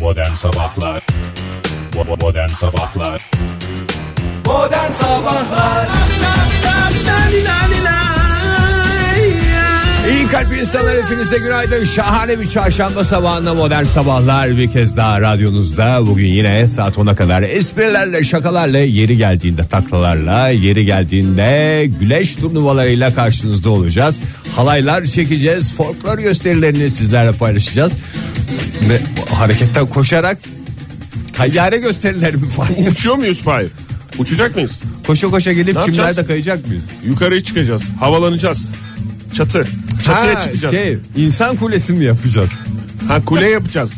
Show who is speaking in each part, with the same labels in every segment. Speaker 1: Modern Sabahlar Bo- Modern Sabahlar
Speaker 2: Modern Sabahlar İyi kalp insanlar hepinize günaydın. Şahane bir çarşamba sabahında modern sabahlar bir kez daha radyonuzda. Bugün yine saat 10'a kadar esprilerle, şakalarla, yeri geldiğinde taklalarla, yeri geldiğinde güleş turnuvalarıyla karşınızda olacağız. Halaylar çekeceğiz, folklor gösterilerini sizlerle paylaşacağız. Ve hareketten koşarak tayyare gösterileri mi var?
Speaker 3: Uçuyor muyuz Fahir? Uçacak mıyız?
Speaker 2: Koşa koşa gelip
Speaker 3: yapacağız?
Speaker 2: çimlerde kayacak mıyız?
Speaker 3: Yukarıya çıkacağız. Havalanacağız. Çatı. Çatıya
Speaker 2: Ha,
Speaker 3: çıkacağız.
Speaker 2: Şey, insan kulesi mi yapacağız?
Speaker 3: Ha kule yapacağız.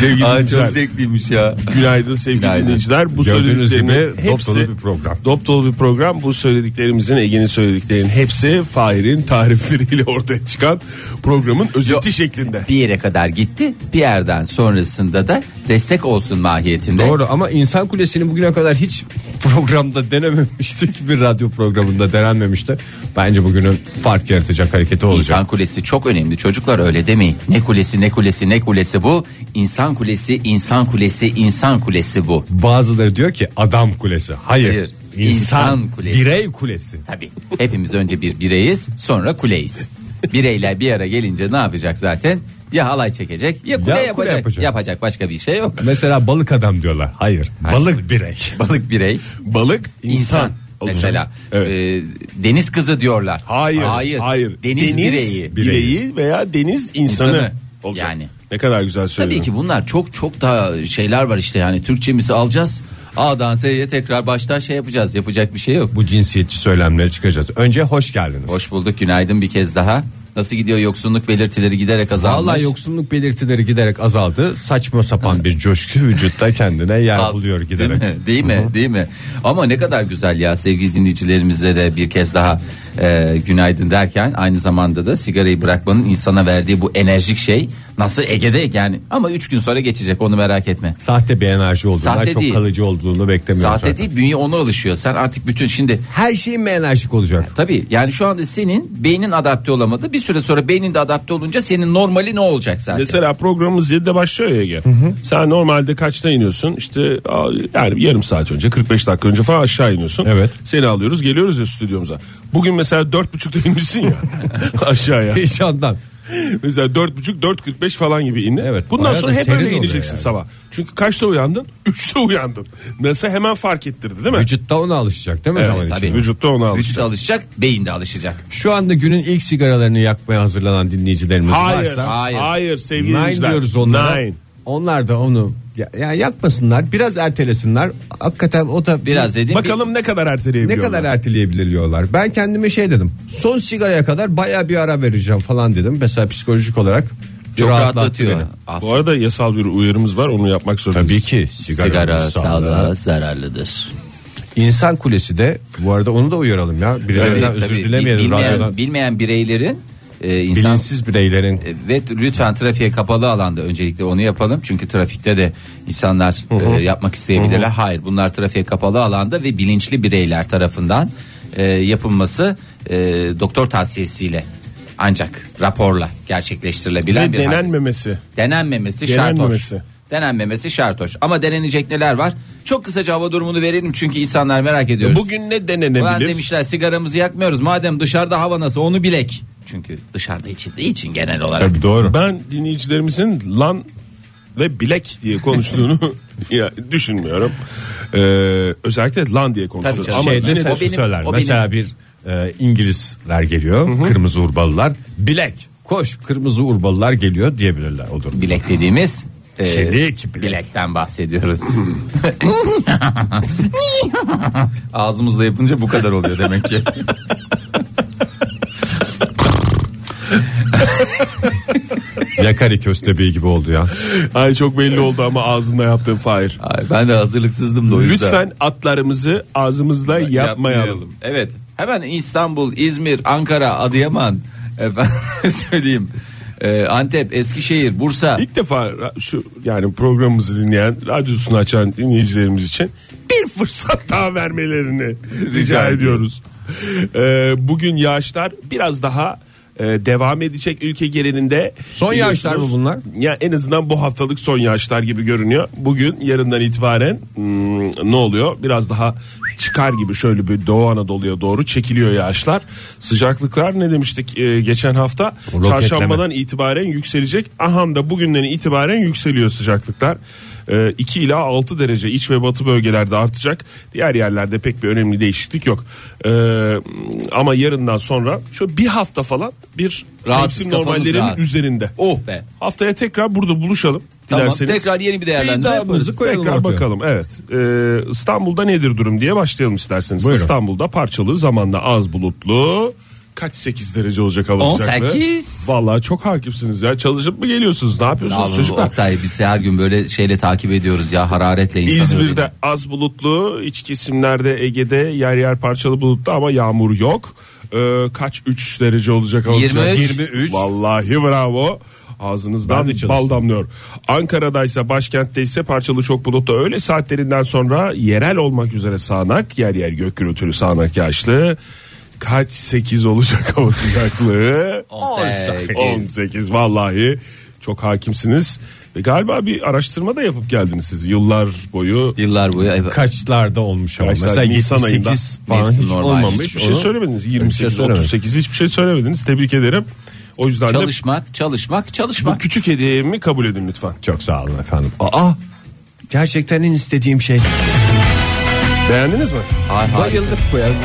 Speaker 2: Sevgili
Speaker 4: Aa, çok zevkliymiş ya.
Speaker 3: Günaydın sevgili
Speaker 4: Günaydın.
Speaker 3: dinleyiciler. Bu
Speaker 2: Gördüğünüz
Speaker 3: söylediklerim
Speaker 2: gibi dop dolu bir program.
Speaker 3: Dop dolu bir program. Bu söylediklerimizin Ege'nin söylediklerinin hepsi Fahir'in tarifleriyle ortaya çıkan programın özeti şeklinde.
Speaker 4: Bir yere kadar gitti. Bir yerden sonrasında da destek olsun mahiyetinde.
Speaker 2: Doğru ama insan kulesini bugüne kadar hiç programda denememiştik. Bir radyo programında denenmemişti. Bence bugünün fark yaratacak hareketi olacak.
Speaker 4: İnsan kulesi çok önemli çocuklar öyle demeyin. Ne kulesi ne kulesi ne kulesi bu? İnsan kulesi insan kulesi insan kulesi bu.
Speaker 2: Bazıları diyor ki adam kulesi. Hayır.
Speaker 4: Hayır,
Speaker 2: İnsan,
Speaker 4: insan kulesi.
Speaker 2: Birey kulesi.
Speaker 4: Tabii hepimiz önce bir bireyiz sonra kuleyiz. Bireyler bir ara gelince ne yapacak zaten? Ya halay çekecek ya kule,
Speaker 2: Ya kule
Speaker 4: yapacak.
Speaker 2: yapacak.
Speaker 4: yapacak. başka bir şey yok.
Speaker 2: Mesela balık adam diyorlar. Hayır.
Speaker 4: Hayır.
Speaker 2: Balık birey.
Speaker 4: Balık birey.
Speaker 3: Balık insan.
Speaker 4: insan
Speaker 3: olacak.
Speaker 4: mesela
Speaker 3: Evet.
Speaker 4: e, deniz kızı diyorlar.
Speaker 3: Hayır, hayır,
Speaker 4: Deniz, bireyi.
Speaker 3: bireyi veya deniz insanı,
Speaker 4: İnsanı.
Speaker 3: olacak.
Speaker 4: Yani.
Speaker 3: Ne kadar güzel söyledin.
Speaker 4: Tabii ki bunlar çok çok daha şeyler var işte yani Türkçemizi alacağız. A'dan Z'ye tekrar baştan şey yapacağız. Yapacak bir şey yok.
Speaker 2: Bu cinsiyetçi söylemlere çıkacağız. Önce hoş geldiniz.
Speaker 4: Hoş bulduk günaydın bir kez daha. Nasıl gidiyor yoksunluk belirtileri giderek azalmış.
Speaker 2: Vallahi yoksunluk belirtileri giderek azaldı. Saçma sapan bir coşku vücutta kendine yer buluyor giderek.
Speaker 4: Değil mi? Değil mi? Değil mi? Ama ne kadar güzel ya sevgili dinleyicilerimize de bir kez daha e, günaydın derken aynı zamanda da sigarayı bırakmanın insana verdiği bu enerjik şey nasıl Ege'de yani ama 3 gün sonra geçecek onu merak etme.
Speaker 2: Sahte bir enerji olduğundan
Speaker 4: Sahte
Speaker 2: çok
Speaker 4: değil.
Speaker 2: kalıcı olduğunu beklemiyorum.
Speaker 4: Sahte
Speaker 2: zaten.
Speaker 4: değil bünye ona alışıyor. Sen artık bütün şimdi
Speaker 2: Her şeyin mi enerjik olacak?
Speaker 4: Tabii yani şu anda senin beynin adapte olamadı. Bir süre sonra beynin de adapte olunca senin normali ne olacak zaten?
Speaker 3: Mesela programımız 7'de başlıyor ya Ege. Sen normalde kaçta iniyorsun? İşte a- yani yarım saat önce 45 dakika önce falan aşağı iniyorsun.
Speaker 2: Evet.
Speaker 3: Seni alıyoruz geliyoruz ya stüdyomuza. Bugün mesela 4.30'da inmişsin ya aşağıya.
Speaker 2: Heyecandan.
Speaker 3: mesela 4.30 4.45 falan gibi in.
Speaker 2: Evet,
Speaker 3: Bundan
Speaker 2: bayağı
Speaker 3: sonra
Speaker 2: da
Speaker 3: hep
Speaker 2: serin
Speaker 3: öyle
Speaker 2: oluyor
Speaker 3: ineceksin
Speaker 2: yani.
Speaker 3: sabah. Çünkü kaçta uyandın? 3'te uyandın. Mesela hemen fark ettirdi değil mi?
Speaker 2: Vücutta ona alışacak değil mi
Speaker 3: Evet,
Speaker 2: zaman içinde?
Speaker 4: tabii.
Speaker 3: Vücutta ona alışacak.
Speaker 4: Vücut alışacak, beyin de alışacak.
Speaker 2: Şu anda günün ilk sigaralarını yakmaya hazırlanan dinleyicilerimiz
Speaker 3: Hayır,
Speaker 2: varsa
Speaker 3: hayır,
Speaker 4: hayır.
Speaker 3: sevgili
Speaker 2: nine
Speaker 3: dinleyiciler.
Speaker 2: diyoruz onlara.
Speaker 3: Nine.
Speaker 2: Onlar da onu ya, ya yakmasınlar biraz ertelesinler. Hakikaten o da
Speaker 4: Biraz dediğim
Speaker 3: Bakalım ne kadar
Speaker 2: ne
Speaker 3: erteleyebiliyorlar.
Speaker 2: kadar erteleyebiliyorlar. Ben kendime şey dedim. Son sigaraya kadar baya bir ara vereceğim falan dedim. Mesela psikolojik olarak
Speaker 4: bir- çok
Speaker 2: rahatlattı
Speaker 4: rahatlatıyor.
Speaker 2: beni.
Speaker 4: Ah,
Speaker 3: Bu arada yasal bir uyarımız var onu yapmak zorundayız.
Speaker 2: Tabii ki
Speaker 4: sigara,
Speaker 2: sigara sağlığa.
Speaker 4: sağlığa zararlıdır.
Speaker 2: İnsan kulesi de bu arada onu da uyaralım ya. Birilerinden
Speaker 4: Tabii,
Speaker 2: özür
Speaker 4: tabii.
Speaker 2: dilemeyelim. radyodan.
Speaker 4: Bilmeyen, bilmeyen bireylerin e, insan
Speaker 2: Bilinçsiz bireylerin
Speaker 4: E, ve t- lütfen trafiğe kapalı alanda öncelikle onu yapalım. Çünkü trafikte de insanlar e, yapmak isteyebilirler. Hayır bunlar trafiğe kapalı alanda ve bilinçli bireyler tarafından e, yapılması e, doktor tavsiyesiyle ancak raporla gerçekleştirilebilen
Speaker 3: Ve
Speaker 4: bir hal.
Speaker 3: denenmemesi.
Speaker 4: Denenmemesi şart
Speaker 3: Denenmemesi.
Speaker 4: hoş. Denenmemesi şart hoş. Ama denenecek neler var? Çok kısaca hava durumunu verelim çünkü insanlar merak ediyoruz.
Speaker 3: Bugün ne
Speaker 4: Ulan
Speaker 3: denenebilir?
Speaker 4: demişler sigaramızı yakmıyoruz. Madem dışarıda hava nasıl onu bilek. Çünkü dışarıda içildiği için genel olarak.
Speaker 2: Tabii doğru.
Speaker 3: Ben dinleyicilerimizin lan ve bilek diye konuştuğunu ya, düşünmüyorum. Ee, özellikle lan diye konuştuğunu.
Speaker 4: Tabii canım.
Speaker 3: Ama
Speaker 2: Şeyde
Speaker 4: yine de-
Speaker 2: sesli
Speaker 4: O benim-
Speaker 2: söyler.
Speaker 4: o
Speaker 2: Mesela bir e, İngilizler geliyor. Kırmızı urbalılar. Bilek. Koş kırmızı urbalılar geliyor diyebilirler olur.
Speaker 4: bilek dediğimiz e,
Speaker 2: Çelik Şey bilek.
Speaker 4: bilekten bahsediyoruz. Ağzımızla yapınca bu kadar oluyor demek ki.
Speaker 2: Yakari köstebeği gibi oldu ya.
Speaker 3: ay çok belli oldu ama ağzında yaptığın Fahir.
Speaker 4: Ay, ben de hazırlıksızdım da o yüzden.
Speaker 3: Lütfen atlarımızı ağzımızla yapmayalım.
Speaker 4: Evet. Hemen İstanbul, İzmir, Ankara, Adıyaman. Efendim söyleyeyim. E, Antep, Eskişehir, Bursa.
Speaker 3: İlk defa ra- şu yani programımızı dinleyen, radyosunu açan dinleyicilerimiz için bir fırsat daha vermelerini rica ediyoruz. Ee, bugün yağışlar biraz daha e, devam edecek ülke genelinde.
Speaker 2: Son yağışlar mı
Speaker 3: Biliyorsunuz,
Speaker 2: bunlar?
Speaker 3: Ya en azından bu haftalık son yağışlar gibi görünüyor. Bugün yarından itibaren hmm, ne oluyor? Biraz daha çıkar gibi şöyle bir Doğu Anadolu'ya doğru çekiliyor yağışlar. Sıcaklıklar ne demiştik e, geçen hafta?
Speaker 2: Roketleme.
Speaker 3: Çarşambadan itibaren yükselecek. Aham da bugünden itibaren yükseliyor sıcaklıklar. E, 2 ila 6 derece iç ve batı bölgelerde artacak. Diğer yerlerde pek bir önemli değişiklik yok. E, ama yarından sonra şöyle bir hafta falan bir
Speaker 4: Rahatsız,
Speaker 3: mevsim
Speaker 4: kafamız
Speaker 3: normallerin
Speaker 4: rahat.
Speaker 3: üzerinde.
Speaker 4: Oh be.
Speaker 3: Haftaya tekrar burada buluşalım.
Speaker 4: Tamam,
Speaker 3: dilerseniz.
Speaker 4: tekrar yeni bir değerlendirme
Speaker 3: İddiamızı
Speaker 4: yaparız.
Speaker 3: koyalım Tekrar
Speaker 2: ortaya.
Speaker 3: bakalım evet. Ee, İstanbul'da nedir durum diye başlayalım isterseniz.
Speaker 2: Buyurun.
Speaker 3: İstanbul'da parçalı zamanda az bulutlu. Kaç 8 derece olacak hava
Speaker 4: 18.
Speaker 3: sıcaklığı? Vallahi çok hakimsiniz ya. Çalışıp mı geliyorsunuz? Ne yapıyorsunuz
Speaker 4: Abi,
Speaker 3: çocuklar?
Speaker 4: Oktay biz her gün böyle şeyle takip ediyoruz ya hararetle insanı.
Speaker 3: İzmir'de
Speaker 4: öyle.
Speaker 3: az bulutlu, iç kesimlerde Ege'de yer yer parçalı bulutlu ama yağmur yok. Ee, kaç 3 derece olacak hava
Speaker 4: 23.
Speaker 3: sıcaklığı?
Speaker 2: 23.
Speaker 3: Vallahi bravo. Ağzınızdan
Speaker 2: Ben de çalıştım.
Speaker 3: bal damlıyor. Ankara'daysa başkentte ise parçalı çok bulutlu. Öğle saatlerinden sonra yerel olmak üzere sağanak, yer yer gök gürültülü sağanak yağışlı. Kaç 8 olacak hava sıcaklığı?
Speaker 4: 18.
Speaker 3: 18 vallahi çok hakimsiniz. E, galiba bir araştırma da yapıp geldiniz siz yıllar boyu.
Speaker 4: Yıllar boyu evet.
Speaker 2: Kaçlarda olmuş ama.
Speaker 3: Kaçlar?
Speaker 2: Mesela
Speaker 3: Nisan
Speaker 2: 78
Speaker 3: ayında.
Speaker 2: falan
Speaker 4: Neyse,
Speaker 2: hiç
Speaker 4: normal.
Speaker 2: olmamış.
Speaker 3: Hiçbir şey
Speaker 2: Onu-
Speaker 3: söylemediniz.
Speaker 2: şey
Speaker 3: 28
Speaker 2: söylemedim.
Speaker 3: 38 hiçbir şey söylemediniz. Tebrik ederim. O yüzden de
Speaker 4: Çalışmak, çalışmak, çalışmak.
Speaker 3: bu küçük hediyemi kabul edin lütfen.
Speaker 2: Çok sağ olun efendim. Aa gerçekten en istediğim şey.
Speaker 3: Beğendiniz mi?
Speaker 4: Ay, harika.
Speaker 2: Bayıldık bu ya.
Speaker 3: Yok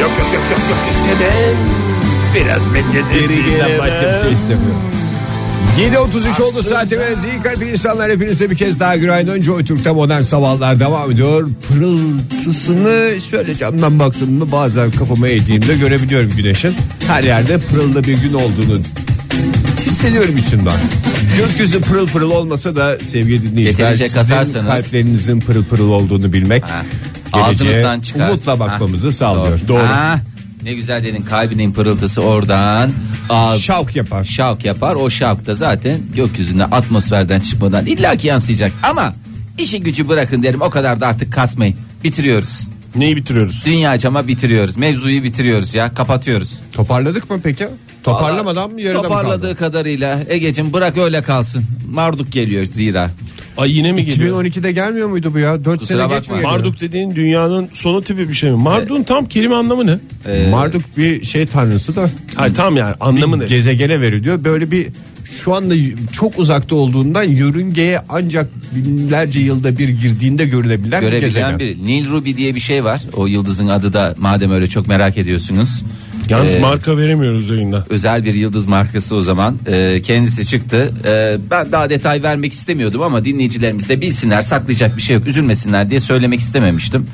Speaker 3: yok yok yok. yok.
Speaker 2: Biraz medyatörlüğünden başka bir şey istemiyorum. 7.33 oldu saatimiz. İyi kalp insanlar hepinize bir kez daha günaydın. Joy Türk'te modern sabahlar devam ediyor. Pırıltısını şöyle camdan baktım mı bazen kafama eğdiğimde görebiliyorum güneşin. Her yerde pırıllı bir gün olduğunu hissediyorum içimden. Gökyüzü pırıl pırıl olmasa da sevgili dinleyiciler
Speaker 4: Yeterince
Speaker 2: sizin
Speaker 4: kasarsanız.
Speaker 2: kalplerinizin pırıl pırıl olduğunu bilmek
Speaker 4: Ha.
Speaker 2: geleceğe
Speaker 4: Ağzınızdan çıkar.
Speaker 2: Umutla bakmamızı
Speaker 4: Ha.
Speaker 2: sağlıyor.
Speaker 4: Ha. Ne güzel dedin kalbinin pırıltısı oradan. Ağız,
Speaker 2: Şavk yapar.
Speaker 4: şavk yapar. O şavk da zaten gökyüzünde atmosferden çıkmadan illaki yansıyacak. Ama işi gücü bırakın derim o kadar da artık kasmayın. Bitiriyoruz.
Speaker 3: Neyi bitiriyoruz?
Speaker 4: Dünya cama bitiriyoruz. Mevzuyu bitiriyoruz ya. Kapatıyoruz.
Speaker 2: Toparladık mı peki? Toparlamadan mı
Speaker 4: Vallahi
Speaker 2: yarıda mı kaldı?
Speaker 4: Toparladığı kadarıyla Ege'cim bırak öyle kalsın. Marduk geliyor zira.
Speaker 3: Ay yine mi geliyor?
Speaker 2: 2012'de gelmiyor muydu bu ya? 4
Speaker 4: Kusura
Speaker 2: sene geç
Speaker 4: bakma.
Speaker 2: mi geliyor?
Speaker 3: Marduk dediğin dünyanın sonu tipi bir şey mi? Marduk'un tam kelime anlamı ne?
Speaker 2: Ee, Marduk bir şey tanrısı da
Speaker 3: Hayır tam yani anlamı ne?
Speaker 2: gezegene veriliyor. Böyle bir şu anda çok uzakta olduğundan yörüngeye ancak binlerce yılda bir girdiğinde görülebilen bir gezegen.
Speaker 4: Görebilen bir Nil Ruby diye bir şey var. O yıldızın adı da madem öyle çok merak ediyorsunuz.
Speaker 3: Yalnız
Speaker 4: Ee,
Speaker 3: marka veremiyoruz yayında.
Speaker 4: özel bir yıldız markası o zaman. Ee, kendisi çıktı. Ee, ben daha detay vermek istemiyordum ama dinleyicilerimiz de bilsinler saklayacak bir şey yok üzülmesinler diye söylemek istememiştim.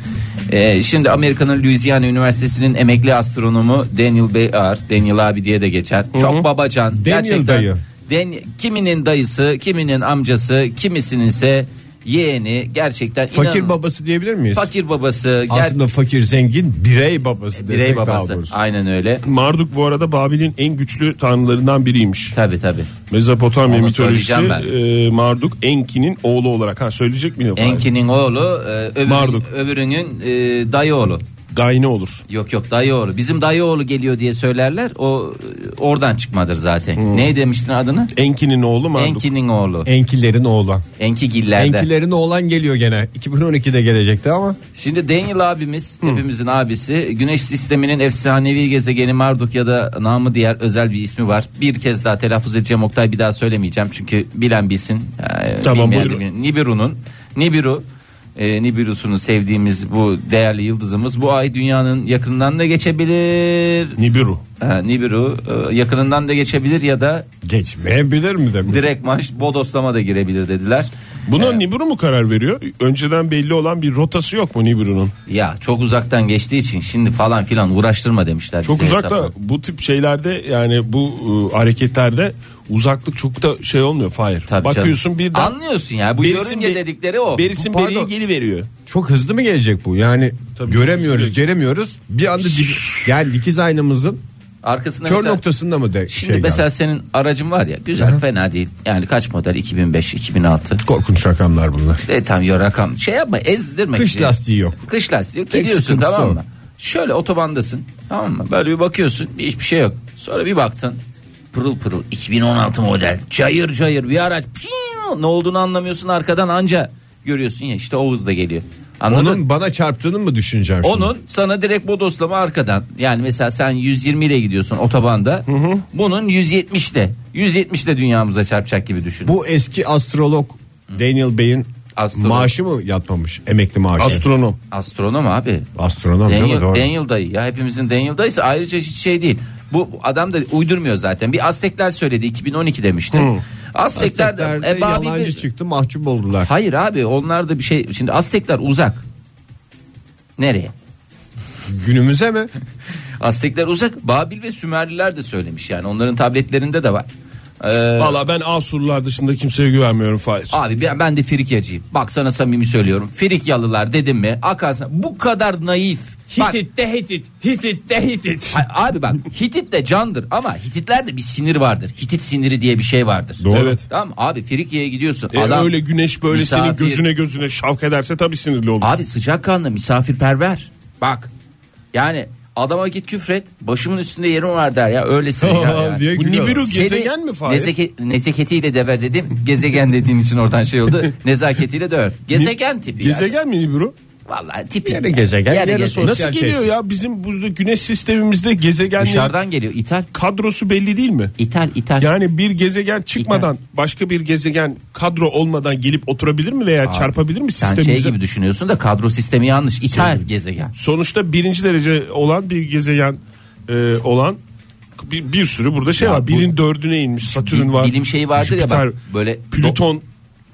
Speaker 4: Ee, şimdi Amerika'nın Louisiana Üniversitesi'nin emekli astronomu Daniel Bayar, Daniel abi diye de geçer. Çok babacan.
Speaker 2: Daniel
Speaker 4: gerçekten.
Speaker 2: dayı.
Speaker 4: Dan- kiminin dayısı, kiminin amcası, kimisininse yeğeni gerçekten
Speaker 2: Fakir
Speaker 4: inanın-
Speaker 2: babası diyebilir miyiz?
Speaker 4: fakir babası, ger-
Speaker 2: Aslında fakir zengin birey babası birey
Speaker 4: birey
Speaker 2: desek babası.
Speaker 4: babası.
Speaker 2: daha doğrusu.
Speaker 4: Aynen öyle.
Speaker 3: Marduk bu arada Babil'in en güçlü tanrılarından biriymiş.
Speaker 4: Tabi tabi.
Speaker 3: Mezopotamya
Speaker 4: Onu
Speaker 3: mitolojisi
Speaker 4: söyleyeceğim
Speaker 3: e, Marduk Enki'nin oğlu olarak ha söyleyecek miyim?
Speaker 4: Enki'nin oğlu, e, öbürün-
Speaker 3: Marduk.
Speaker 4: öbürünün e, dayı oğlu.
Speaker 3: Gayne olur.
Speaker 4: Yok yok dayı oğlu. Bizim dayı oğlu geliyor diye söylerler. O e, oradan çıkmadır zaten. Ne demiştin adını?
Speaker 3: Enki'nin oğlu Hmm. Marduk.
Speaker 4: Enki'nin oğlu.
Speaker 2: Enkilerin oğlan.
Speaker 4: Enki gillerde.
Speaker 2: Enkilerin oğlan geliyor gene. 2012'de gelecekti ama
Speaker 4: Şimdi Daniel abimiz, hepimizin abisi, Güneş sisteminin efsanevi gezegeni Marduk ya da namı diğer özel bir ismi var. Bir kez daha telaffuz edeceğim Oktay bir daha söylemeyeceğim çünkü bilen bilsin. Ee,
Speaker 3: Tamam,
Speaker 4: bilmeyen de
Speaker 3: buyurun.
Speaker 4: bilin. Nibiru'nun, Nibiru, e, Nibiru'sunu sevdiğimiz bu değerli yıldızımız bu ay dünyanın yakınından da geçebilir.
Speaker 3: Nibiru.
Speaker 4: Ha, Nibiru e, yakınından da geçebilir ya da
Speaker 2: geçmeyebilir mi demek?
Speaker 4: direkt maç bodoslama da girebilir dediler.
Speaker 3: Buna Nibiru mu karar veriyor? Önceden belli olan bir rotası yok mu Nibiru'nun?
Speaker 4: Ya çok uzaktan geçtiği için şimdi falan filan uğraştırma demişler.
Speaker 3: Çok
Speaker 4: bize
Speaker 3: uzakta
Speaker 4: hesapla.
Speaker 3: bu tip şeylerde yani bu e, hareketlerde uzaklık çok da şey olmuyor Fahir.
Speaker 4: Tabii
Speaker 3: Bakıyorsun
Speaker 4: canım.
Speaker 3: birden
Speaker 4: anlıyorsun ya bu
Speaker 3: Berisin
Speaker 4: yörünge
Speaker 3: bir-
Speaker 4: dedikleri o.
Speaker 3: berisin
Speaker 2: Pardon.
Speaker 3: beriye geri veriyor.
Speaker 2: Çok hızlı mı gelecek bu? Yani
Speaker 3: Tabii
Speaker 2: göremiyoruz,
Speaker 3: çok hızlı
Speaker 2: göremiyoruz. Bir anda dik, yani dikiz aynamızın
Speaker 4: Arkasında
Speaker 2: kör
Speaker 4: mesela,
Speaker 2: noktasında mı de
Speaker 4: şimdi
Speaker 2: şey
Speaker 4: mesela
Speaker 2: geldi?
Speaker 4: senin aracın var ya güzel fena değil. Yani kaç model 2005 2006.
Speaker 2: Korkunç rakamlar bunlar.
Speaker 4: E tam ya rakam şey yapma ezdirme.
Speaker 2: Kış
Speaker 4: gidiyor.
Speaker 2: lastiği yok.
Speaker 4: Kış lastiği yok
Speaker 2: Tek
Speaker 4: gidiyorsun
Speaker 2: sıkıntısı
Speaker 4: tamam
Speaker 2: o.
Speaker 4: mı? Şöyle otobandasın tamam mı? Böyle bir bakıyorsun bir hiçbir şey yok. Sonra bir baktın pırıl pırıl 2016 model cayır cayır bir araç Piyuu! ne olduğunu anlamıyorsun arkadan anca görüyorsun ya işte Oğuz da geliyor. Anladın?
Speaker 2: Onun bana çarptığını mı düşüneceğim şimdi?
Speaker 4: Onun sana direkt bodoslama arkadan. Yani mesela sen 120 ile gidiyorsun otobanda. Bunun 170 ile. 170 ile dünyamıza çarpacak gibi düşün.
Speaker 2: Bu eski astrolog Daniel Bey'in
Speaker 4: Astrolog.
Speaker 2: maaşı mı yatmamış? Emekli maaşı.
Speaker 3: Astronom.
Speaker 4: Astronom abi.
Speaker 2: Astronom değil mi?
Speaker 4: Daniel,
Speaker 2: Doğru.
Speaker 4: Daniel dayı ya hepimizin Daniel dayısı ayrıca hiç şey değil. Bu adam da uydurmuyor zaten. Bir Aztekler söyledi 2012 demişti. Aztekler,
Speaker 2: Azteklerde
Speaker 4: de e, Babil'de-
Speaker 2: yalancı çıktı mahcup oldular.
Speaker 4: Hayır abi onlar da bir şey. Şimdi Aztekler uzak. Nereye?
Speaker 2: Günümüze mi?
Speaker 4: Aztekler uzak. Babil ve Sümerliler de söylemiş yani. Onların tabletlerinde de var. Ee,
Speaker 3: Valla ben Asurlular dışında kimseye güvenmiyorum Fahir.
Speaker 4: Abi ben, ben de Frikyacıyım. Bak sana samimi söylüyorum. Frikyalılar dedim mi? Akarsan bu kadar naif. Bak,
Speaker 2: de hitit, hitit de hitit.
Speaker 4: a- abi bak Hitit de candır ama Hititlerde bir sinir vardır. Hitit siniri diye bir şey vardır.
Speaker 3: Doğru. Evet.
Speaker 4: Tamam mı? abi Frikya'ya gidiyorsun.
Speaker 3: E,
Speaker 4: adam,
Speaker 3: öyle güneş böyle senin
Speaker 4: misafir.
Speaker 3: gözüne gözüne şavk ederse tabii sinirli olur.
Speaker 4: Abi sıcakkanlı misafirperver. Bak yani adama git küfret başımın üstünde yerim var der ya öylesine ya. yani.
Speaker 2: diye
Speaker 3: Bu
Speaker 2: gülüyorlar.
Speaker 3: Nibiru
Speaker 4: Seni
Speaker 3: gezegen mi Fahir?
Speaker 4: nezake- nezaketiyle döver dedim. Gezegen dediğin için oradan şey oldu. Nezaketiyle döver. Gezegen tipi yani.
Speaker 3: Gezegen mi Nibiru?
Speaker 4: Vallahi tipi.
Speaker 2: Yarı gezegen, yarı sosyal
Speaker 3: Nasıl geliyor
Speaker 2: tesis.
Speaker 3: ya bizim burada güneş sistemimizde gezegenlerin
Speaker 4: Dışarıdan geliyor. İthal.
Speaker 3: kadrosu belli değil mi?
Speaker 4: İthal. İthal.
Speaker 3: Yani bir gezegen çıkmadan başka bir gezegen kadro olmadan gelip oturabilir mi veya çarpabilir mi
Speaker 4: Sen
Speaker 3: sistemimize? Şey-
Speaker 4: şey gibi düşünüyorsun da kadro sistemi yanlış. İthal gezegen.
Speaker 3: Sonuçta birinci derece olan bir gezegen e, olan bir, bir sürü burada şey var. Birin dördüne inmiş. Satürn
Speaker 4: Bi-
Speaker 3: var.
Speaker 4: bilim şeyi vardır ya bak, böyle-
Speaker 3: Plüton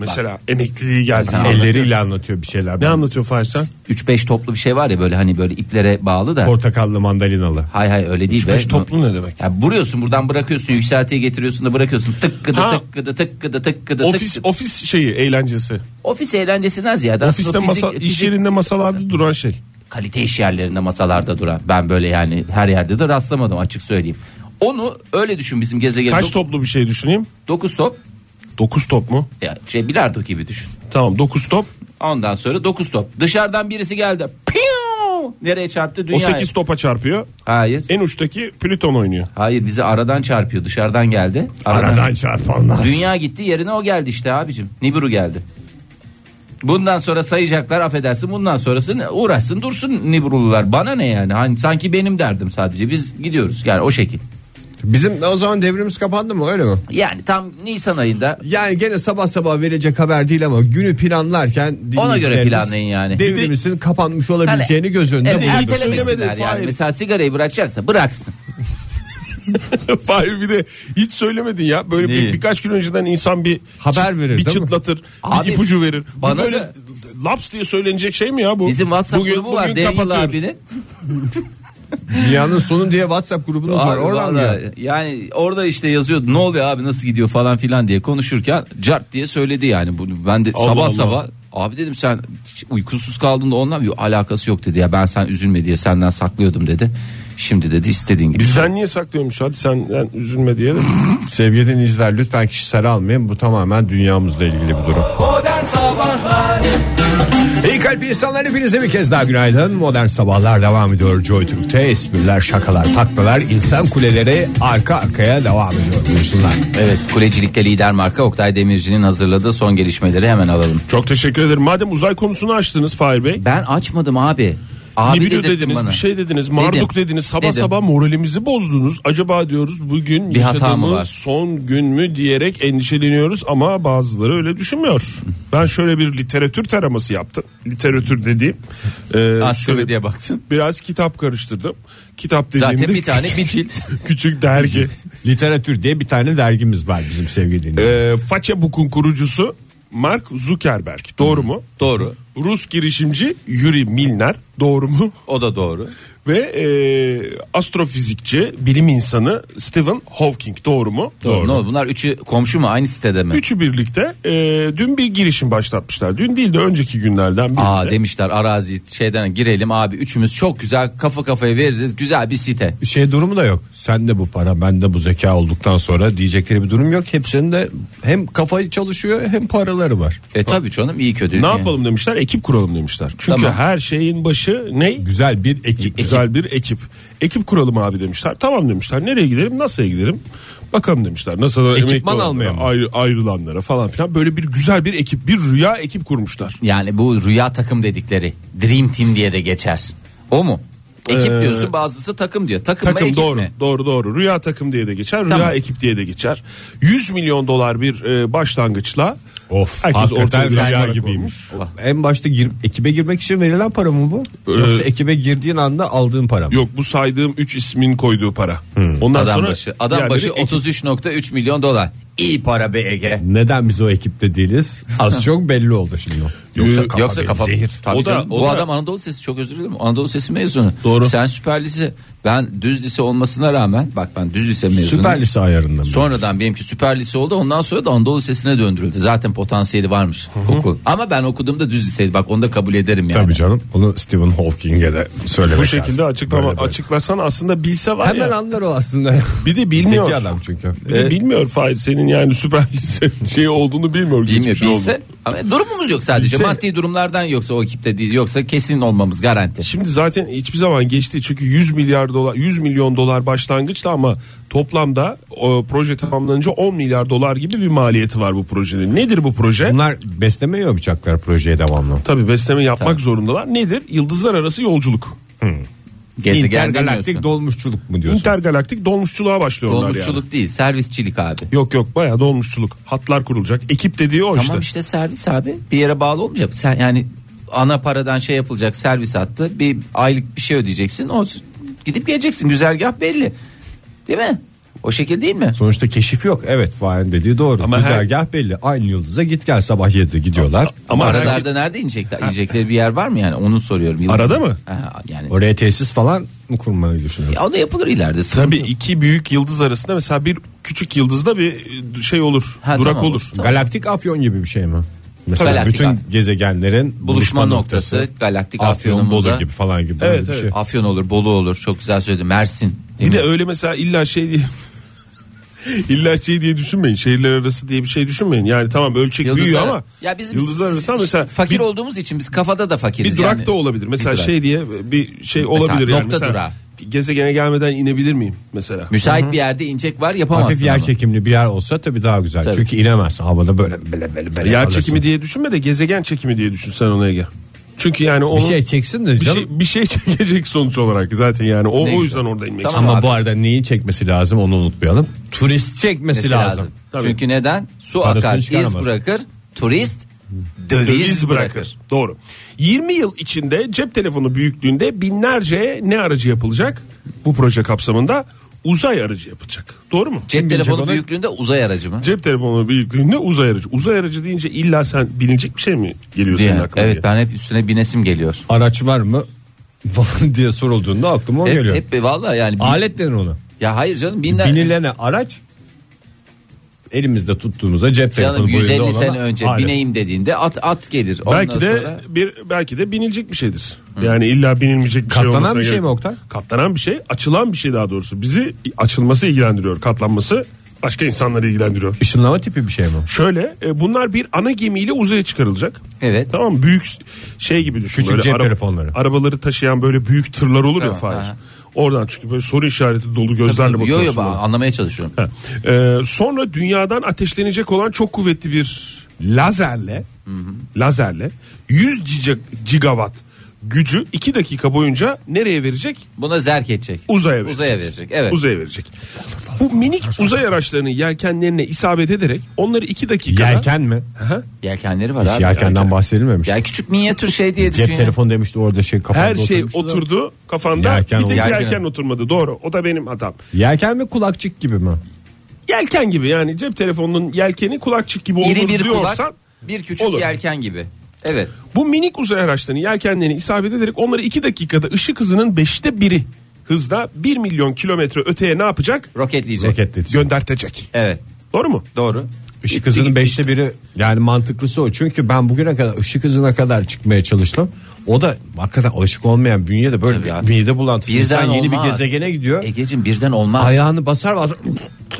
Speaker 3: mesela emekliliği geldi.
Speaker 4: Mesela-
Speaker 3: Elle-
Speaker 2: Elleriyle anlatıyor bir şeyler.
Speaker 3: Ne anlatıyor Fahir sen?
Speaker 4: 3-5 toplu bir şey var ya böyle hani böyle iplere bağlı da.
Speaker 2: Portakallı mandalinalı.
Speaker 4: Hay hay öyle değil.
Speaker 3: Üç
Speaker 4: be.
Speaker 3: beş toplu ne demek?
Speaker 4: Ya vuruyorsun buradan bırakıyorsun yükseltiye getiriyorsun da bırakıyorsun tık gıda
Speaker 3: Ha.
Speaker 4: tık gıda tık gıda tık gıda tık
Speaker 3: Ofis ofis şeyi eğlencesi.
Speaker 4: Ofis eğlencesinden ziyade aslında
Speaker 3: Ofiste
Speaker 4: fizik-
Speaker 3: masa iş
Speaker 4: fizik-
Speaker 3: yerinde masalarda duran şey.
Speaker 4: kalite iş yerlerinde masalarda duran ben böyle yani her yerde de rastlamadım açık söyleyeyim. Onu öyle düşün bizim gezegen
Speaker 3: Kaç toplu bir şey düşüneyim?
Speaker 4: 9 top
Speaker 3: 9 top mu?
Speaker 4: ya şey bilardo gibi düşün.
Speaker 3: Tamam 9 top.
Speaker 4: Ondan sonra 9 top. Dışarıdan birisi geldi. Piu! Nereye çarptı
Speaker 3: O E-
Speaker 4: dünya?
Speaker 3: 8 topa çarpıyor.
Speaker 4: Hayır.
Speaker 3: En uçtaki Plüton oynuyor.
Speaker 4: Hayır bizi aradan çarpıyor. Dışarıdan geldi. Aradan.
Speaker 2: Aradan çarpanlar.
Speaker 4: Dünya gitti yerine o geldi işte abicim. Nibiru geldi. Bundan sonra sayacaklar affedersin. Bundan sonrası ne- uğraşsın dursun Nibiru'lular. Bana ne yani? Hani sanki benim derdim sadece. Biz gidiyoruz yani o şekil.
Speaker 2: Bizim o zaman devrimiz kapandı mı öyle mi?
Speaker 4: Yani tam Nisan ayında
Speaker 2: Yani gene sabah sabah verecek haber değil ama günü planlarken dinleyicilerimiz
Speaker 4: göre planlayın yani.
Speaker 2: Devrimizin kapanmış olabileceğini
Speaker 4: Hani-
Speaker 2: göz önünde
Speaker 4: Evet,
Speaker 2: bulundursun.
Speaker 4: ertelemesinler
Speaker 3: Söylemedi,
Speaker 4: yani.
Speaker 3: Fahir.
Speaker 4: Mesela sigarayı bırakacaksa bıraksın.
Speaker 3: Fahir bir de hiç söylemedin ya. Böyle bir,
Speaker 4: Neyi?
Speaker 3: birkaç gün önceden insan bir
Speaker 2: Haber verir,
Speaker 3: bir
Speaker 2: değil mi?
Speaker 3: çıtlatır,
Speaker 4: Abi,
Speaker 3: bir ipucu verir. Bu
Speaker 4: bana
Speaker 3: böyle
Speaker 4: da-
Speaker 3: laps diye söylenecek şey mi ya bu?
Speaker 4: Bizim WhatsApp
Speaker 3: Bugün-
Speaker 4: grubu
Speaker 3: bugün
Speaker 4: var Daniel
Speaker 3: kapatıyoruz.
Speaker 4: abinin.
Speaker 2: Dünyanın sonu diye WhatsApp grubunuz var.
Speaker 4: Abi
Speaker 2: Oradan
Speaker 4: vallahi
Speaker 2: diyor.
Speaker 4: yani orada işte yazıyordu ne oluyor abi nasıl gidiyor falan filan diye konuşurken cart diye söyledi yani bunu ben de
Speaker 3: Allah
Speaker 4: sabah
Speaker 3: Allah.
Speaker 4: sabah abi dedim sen hiç uykusuz kaldın da onunla bir alakası yok dedi ya ben sen üzülme diye senden saklıyordum dedi. Şimdi dedi istediğin gibi.
Speaker 3: Bizden niye saklıyormuş hadi sen yani üzülme diye de.
Speaker 2: Sevgili dinleyiciler lütfen kişisel almayın. Bu tamamen dünyamızla ilgili bir durum. İyi kalp insanlar hepinize bir kez daha günaydın. Modern Sabahlar devam ediyor. Joy Türk'te espriler, şakalar, taklalar, insan kuleleri arka arkaya devam ediyor. Buyursunlar.
Speaker 4: Evet kulecilikte lider marka Oktay Demirci'nin hazırladığı son gelişmeleri hemen alalım.
Speaker 3: Çok teşekkür ederim. Madem uzay konusunu açtınız Fahir Bey.
Speaker 4: Ben açmadım abi. Abi
Speaker 3: Nibiru
Speaker 4: dedirttin
Speaker 3: dediniz,
Speaker 4: bana.
Speaker 3: bir şey dediniz,
Speaker 4: Dedim.
Speaker 3: Marduk dediniz. Sabah
Speaker 4: Dedim.
Speaker 3: sabah moralimizi bozdunuz. Acaba diyoruz bugün
Speaker 4: Bir hata mı
Speaker 3: yaşadığımız
Speaker 4: var?
Speaker 3: son gün mü diyerek endişeleniyoruz ama bazıları öyle düşünmüyor. Ben şöyle bir literatür taraması yaptım. Literatür dediğim e, şöyle
Speaker 4: Ansiklopediye baktım.
Speaker 3: biraz kitap karıştırdım. Kitap dediğimde
Speaker 4: Zaten bir tane bir cilt.
Speaker 3: küçük dergi.
Speaker 2: Literatür diye bir tane dergimiz var bizim sevgili dinleyiciler.
Speaker 3: e, Facebook'un kurucusu Mark Zuckerberg. Doğru mu?
Speaker 4: doğru.
Speaker 3: Rus girişimci Yuri Milner. Doğru mu?
Speaker 4: O da doğru.
Speaker 3: ve e, astrofizikçi bilim insanı Stephen Hawking doğru mu?
Speaker 4: Ne oldu? Bunlar üçü komşu mu aynı sitede mi?
Speaker 3: Üçü birlikte e, dün bir girişim başlatmışlar. Dün değil de önceki günlerden birinde.
Speaker 4: Aa demişler arazi şeyden girelim abi üçümüz çok güzel kafa kafaya veririz güzel bir site.
Speaker 2: Şey durumu da yok. Sen de bu para, ben de bu zeka olduktan sonra diyecekleri bir durum yok. Hepsinin de hem kafayı çalışıyor hem paraları var.
Speaker 4: E tabii canım iyi kötü.
Speaker 3: ne
Speaker 4: Yani.
Speaker 3: yapalım demişler ekip kuralım demişler. Çünkü
Speaker 4: Tamam.
Speaker 3: her şeyin başı ne?
Speaker 2: Güzel bir ekip, güzel
Speaker 3: güzel bir ekip. Ekip kuralım abi demişler. Tamam demişler. Nereye gidelim? NASA'ya gidelim. Bakalım demişler. NASA'dan
Speaker 2: Ekipman
Speaker 3: emekli olanlara,
Speaker 2: almaya mı?
Speaker 3: ayrı- ayrılanlara falan filan böyle bir güzel bir ekip, bir rüya ekip kurmuşlar.
Speaker 4: Yani bu rüya takım dedikleri Dream Team diye de geçer. O mu? Ekip
Speaker 3: Ee,
Speaker 4: diyorsun bazısı takım diyor. Takım, mı
Speaker 3: Takım
Speaker 4: ekip
Speaker 3: doğru.
Speaker 4: mi?
Speaker 3: Doğru doğru. Rüya takım diye de geçer,
Speaker 4: Tamam.
Speaker 3: rüya ekip diye de geçer. 100 milyon dolar bir e, başlangıçla
Speaker 2: Of,
Speaker 3: herkes
Speaker 2: hakikaten
Speaker 3: ortaya
Speaker 2: rüya
Speaker 3: rüya
Speaker 2: gibiymiş.
Speaker 3: gibiymiş.
Speaker 2: En başta girip ekibe girmek için verilen para mı bu?
Speaker 4: Ee,
Speaker 2: Yoksa ekibe girdiğin anda aldığın para mı?
Speaker 3: Yok bu saydığım 3 ismin koyduğu para.
Speaker 2: Hmm.
Speaker 3: Ondan
Speaker 4: Adam
Speaker 3: sonra
Speaker 4: başı adam
Speaker 3: diğerleri
Speaker 4: başı
Speaker 3: ekip.
Speaker 4: 33.3 milyon dolar. İyi para be Ege.
Speaker 2: Neden biz o ekipte değiliz? Az çok belli oldu şimdi.
Speaker 4: Yoksa kafa. Yoksa kafa Tabii
Speaker 3: O da-
Speaker 4: canım.
Speaker 3: o
Speaker 4: bu
Speaker 3: da-
Speaker 4: adam Anadolu Sesi çok özür dilerim. Anadolu Sesi mezunu.
Speaker 3: Doğru.
Speaker 4: Sen Süper Lise ben düz lise olmasına rağmen bak ben düz lise mezunu.
Speaker 2: Süper lise ayarında mı?
Speaker 4: Sonradan benimki Süper Lise oldu. Ondan sonra da Anadolu Lisesi'ne döndürüldü. Zaten potansiyeli varmış okul. Ama ben okuduğumda düz liseydi. Bak onu da kabul ederim yani.
Speaker 2: Tabii canım. Onu Stephen Hawking'e de söylemek
Speaker 3: bu şekilde
Speaker 2: lazım.
Speaker 3: açıklama
Speaker 2: Böyle böyle.
Speaker 3: açıklasan aslında bilse var
Speaker 2: Hemen
Speaker 3: ya.
Speaker 2: anlar o aslında.
Speaker 3: Bir de bilmiyor.
Speaker 2: Zeki adam çünkü. Ee,
Speaker 3: Bir
Speaker 4: Ee,
Speaker 3: de bilmiyor Fahir senin yani süper lise şey olduğunu bilmiyor.
Speaker 4: Bilmiyor
Speaker 3: geçmiş
Speaker 4: bilse.
Speaker 3: olduğunu.
Speaker 4: Ama durumumuz yok sadece.
Speaker 3: şey Bilse-
Speaker 4: Maddi durumlardan yoksa o ekipte değil. Yoksa kesin olmamız garanti.
Speaker 3: Şimdi zaten hiçbir zaman geçti çünkü 100 milyar dolar 100 milyon dolar başlangıçta ama toplamda o, proje tamamlanınca 10 milyar dolar gibi bir maliyeti var bu projenin. Nedir bu proje?
Speaker 2: Bunlar besleme yapacaklar projeye devamlı.
Speaker 3: Tabii besleme yapmak zorundalar. Nedir? Yıldızlar arası yolculuk.
Speaker 4: Gezegen
Speaker 2: Intergalaktik
Speaker 4: demiyorsun.
Speaker 2: dolmuşçuluk mu diyorsun?
Speaker 3: İntergalaktik dolmuşçuluğa başlıyorlar
Speaker 4: Dolmuşçuluk
Speaker 3: yani.
Speaker 4: değil servisçilik abi.
Speaker 3: Yok yok bayağı dolmuşçuluk. Hatlar kurulacak. Ekip dediği o
Speaker 4: Tamam
Speaker 3: işte.
Speaker 4: işte servis abi. Bir yere bağlı olmayacak. Sen yani ana paradan şey yapılacak servis hattı. Bir aylık bir şey ödeyeceksin. O gidip geleceksin. Güzergah belli. Değil mi? O şekilde değil mi?
Speaker 2: Sonuçta keşif yok. Evet Fahir'in dediği doğru.
Speaker 3: Ama her-
Speaker 2: Güzergah belli. Aynı yıldıza git gel sabah 7'de gidiyorlar.
Speaker 4: Ama
Speaker 3: Ama
Speaker 4: aralarda
Speaker 3: herhangi-
Speaker 4: nerede inecekler? İnecekleri bir yer var mı yani? Onu soruyorum. Yıldız-
Speaker 3: Arada mı?
Speaker 4: Ha, yani.
Speaker 2: Oraya tesis falan mı kurmayı düşünüyorsun?
Speaker 4: Ya o da yapılır ileride. sıkıntı
Speaker 3: Tabii
Speaker 4: yok.
Speaker 3: iki büyük yıldız arasında mesela bir küçük yıldızda bir şey olur.
Speaker 4: Ha,
Speaker 3: durak
Speaker 4: tamam.
Speaker 3: olur.
Speaker 2: Galaktik afyon gibi bir şey mi? Mesela
Speaker 4: Galaktik
Speaker 2: bütün
Speaker 4: Afyon.
Speaker 2: gezegenlerin
Speaker 4: buluşma noktası, galaktik
Speaker 2: Afyon
Speaker 4: afyonumuza.
Speaker 2: Bolu gibi falan gibi böyle
Speaker 3: Evet,
Speaker 2: bir
Speaker 3: evet.
Speaker 2: şey.
Speaker 4: Afyon olur, Bolu olur. Çok güzel söyledin. Mersin.
Speaker 3: Bir
Speaker 4: değil
Speaker 3: de
Speaker 4: mi?
Speaker 3: öyle mesela illa şey diye illa şey diye düşünmeyin. Şehirler arası diye bir şey düşünmeyin. Yani tamam ölçek
Speaker 4: Yıldızlar-
Speaker 3: büyüyor ama
Speaker 4: ya bizim
Speaker 3: yıldızlar arası ama mesela
Speaker 4: fakir
Speaker 3: bir,
Speaker 4: olduğumuz için biz kafada da fakiriz
Speaker 3: bir durak
Speaker 4: yani.
Speaker 3: da olabilir. Mesela
Speaker 4: Bir durak.
Speaker 3: şey diye bir şey olabilir yani.
Speaker 4: nokta
Speaker 3: mesela
Speaker 4: durağı.
Speaker 3: gezegene gelmeden inebilir miyim mesela?
Speaker 4: Müsait bir yerde inecek var yapamazsın.
Speaker 2: Hafif yer
Speaker 4: ama.
Speaker 2: çekimli bir yer olsa tabii daha güzel.
Speaker 4: Tabii.
Speaker 2: Çünkü inemez havada böyle böyle böyle. böyle
Speaker 3: Yer
Speaker 2: kalırsın.
Speaker 3: çekimi diye düşünme de gezegen çekimi diye düşün sen ona Ege. Çünkü yani onun
Speaker 2: bir şey çeksin de
Speaker 3: bir
Speaker 2: canım.
Speaker 3: şey, bir şey çekecek sonuç olarak zaten yani o,
Speaker 4: Ne
Speaker 3: o
Speaker 4: güzel.
Speaker 3: yüzden orada inmek
Speaker 4: Tamam.
Speaker 2: Ama
Speaker 4: Abi.
Speaker 2: bu arada neyin çekmesi lazım onu unutmayalım. Turist çekmesi
Speaker 4: Mesela
Speaker 2: lazım.
Speaker 3: Tabii.
Speaker 4: Çünkü neden? Su
Speaker 2: Parasını
Speaker 4: akar, iz
Speaker 2: çıkaramaz.
Speaker 4: bırakır, turist
Speaker 3: döviz,
Speaker 4: döviz,
Speaker 3: bırakır.
Speaker 4: bırakır.
Speaker 3: Doğru. 20 yıl içinde cep telefonu büyüklüğünde binlerce ne aracı yapılacak? Bu proje kapsamında uzay aracı yapılacak. Doğru mu?
Speaker 4: Cep
Speaker 2: binecek
Speaker 4: telefonu
Speaker 2: ona?
Speaker 4: büyüklüğünde uzay aracı mı?
Speaker 3: Cep telefonu büyüklüğünde uzay aracı. Uzay aracı deyince illa sen bilinecek bir şey mi geliyor senin
Speaker 4: Yani,
Speaker 3: aklına?
Speaker 4: evet
Speaker 3: diye?
Speaker 4: ben hep üstüne binesim geliyor.
Speaker 2: Araç var mı falan diye sorulduğunda aklıma o
Speaker 4: Hep,
Speaker 2: geliyor.
Speaker 4: hep valla yani bin-
Speaker 2: Alet denir ona.
Speaker 4: ya hayır canım binler.
Speaker 2: Binilene araç elimizde tuttuğumuza cep telefonu
Speaker 4: Canım
Speaker 2: boyunda
Speaker 4: 150
Speaker 2: olana
Speaker 4: sene önce
Speaker 2: alet.
Speaker 4: bineyim dediğinde at at gelir. Ondan
Speaker 3: Belki de
Speaker 4: sonra
Speaker 3: bir belki de binilecek bir şeydir. Yani illa binilmeyecek bir şey
Speaker 2: Katlanan
Speaker 3: olmasına
Speaker 2: bir şey
Speaker 3: gerek-
Speaker 2: mi Oktay?
Speaker 3: Katlanan bir şey, açılan bir şey daha doğrusu. Bizi açılması ilgilendiriyor, katlanması başka insanları ilgilendiriyor.
Speaker 2: Işınlama tipi bir şey mi?
Speaker 3: Şöyle e, bunlar bir ana gemiyle uzaya çıkarılacak.
Speaker 4: Evet.
Speaker 3: Tamam mı? büyük şey gibi düşün.
Speaker 2: Küçük
Speaker 3: böyle
Speaker 2: cep telefonları.
Speaker 3: Arabaları taşıyan böyle büyük tırlar olur ya
Speaker 4: Tamam,
Speaker 3: Fahir.
Speaker 4: aha.
Speaker 3: Oradan çünkü böyle soru işareti dolu gözlerle
Speaker 4: yo
Speaker 3: bakıyorsun.
Speaker 4: yo ben
Speaker 3: ona.
Speaker 4: anlamaya çalışıyorum.
Speaker 3: Ha. E, sonra dünyadan ateşlenecek olan çok kuvvetli bir lazerle lazerle 100 giga- gigawatt gücü 2 dakika boyunca nereye verecek?
Speaker 4: Buna zerk edecek.
Speaker 3: Uzaya verecek.
Speaker 4: Uzaya verecek. Evet.
Speaker 3: Uzaya verecek. Bu minik uzay araçlarının yelkenlerine isabet ederek onları 2 dakikada
Speaker 2: Yelken mi?
Speaker 3: Aha.
Speaker 4: Yelkenleri var
Speaker 2: Hiç
Speaker 4: abi.
Speaker 2: yelkenden bahsedilmemiş.
Speaker 4: Ya küçük minyatür şey diye düşün.
Speaker 2: Cep
Speaker 4: ya.
Speaker 2: telefonu demişti orada şey kafamda
Speaker 3: Her şey
Speaker 2: oturmuştu da.
Speaker 3: oturdu kafanda.
Speaker 2: Yelken
Speaker 3: bir tek
Speaker 2: oldu.
Speaker 3: yelken,
Speaker 4: Yelken.
Speaker 3: oturmadı. Doğru. O da benim hatam.
Speaker 2: Yelken mi kulakçık gibi mi?
Speaker 3: Yelken gibi yani cep telefonunun yelkeni kulakçık gibi olur
Speaker 4: İri bir
Speaker 3: diyorsan
Speaker 4: kulak, bir küçük
Speaker 3: olur.
Speaker 4: yelken gibi. Evet.
Speaker 3: Bu minik uzay araçlarının yelkenlerini isabet ederek onları 2 dakikada ışık hızının 5'te biri hızda 1 milyon kilometre öteye ne yapacak?
Speaker 4: Roketleyecek.
Speaker 2: Roketletici.
Speaker 3: Göndertecek.
Speaker 4: Evet.
Speaker 3: Doğru mu?
Speaker 4: Doğru.
Speaker 2: Işık hızının beşte biri yani mantıklısı o. Çünkü ben bugüne kadar ışık hızına kadar çıkmaya çalıştım. O da hakikaten alışık olmayan bünyede böyle
Speaker 4: Tabii
Speaker 2: bir
Speaker 4: abi.
Speaker 2: mide bulantısı.
Speaker 4: Birden
Speaker 2: İnsan yeni
Speaker 4: olmaz. E-
Speaker 2: bir gezegene gidiyor.
Speaker 4: Egeciğim birden olmaz.
Speaker 2: Ayağını basar basar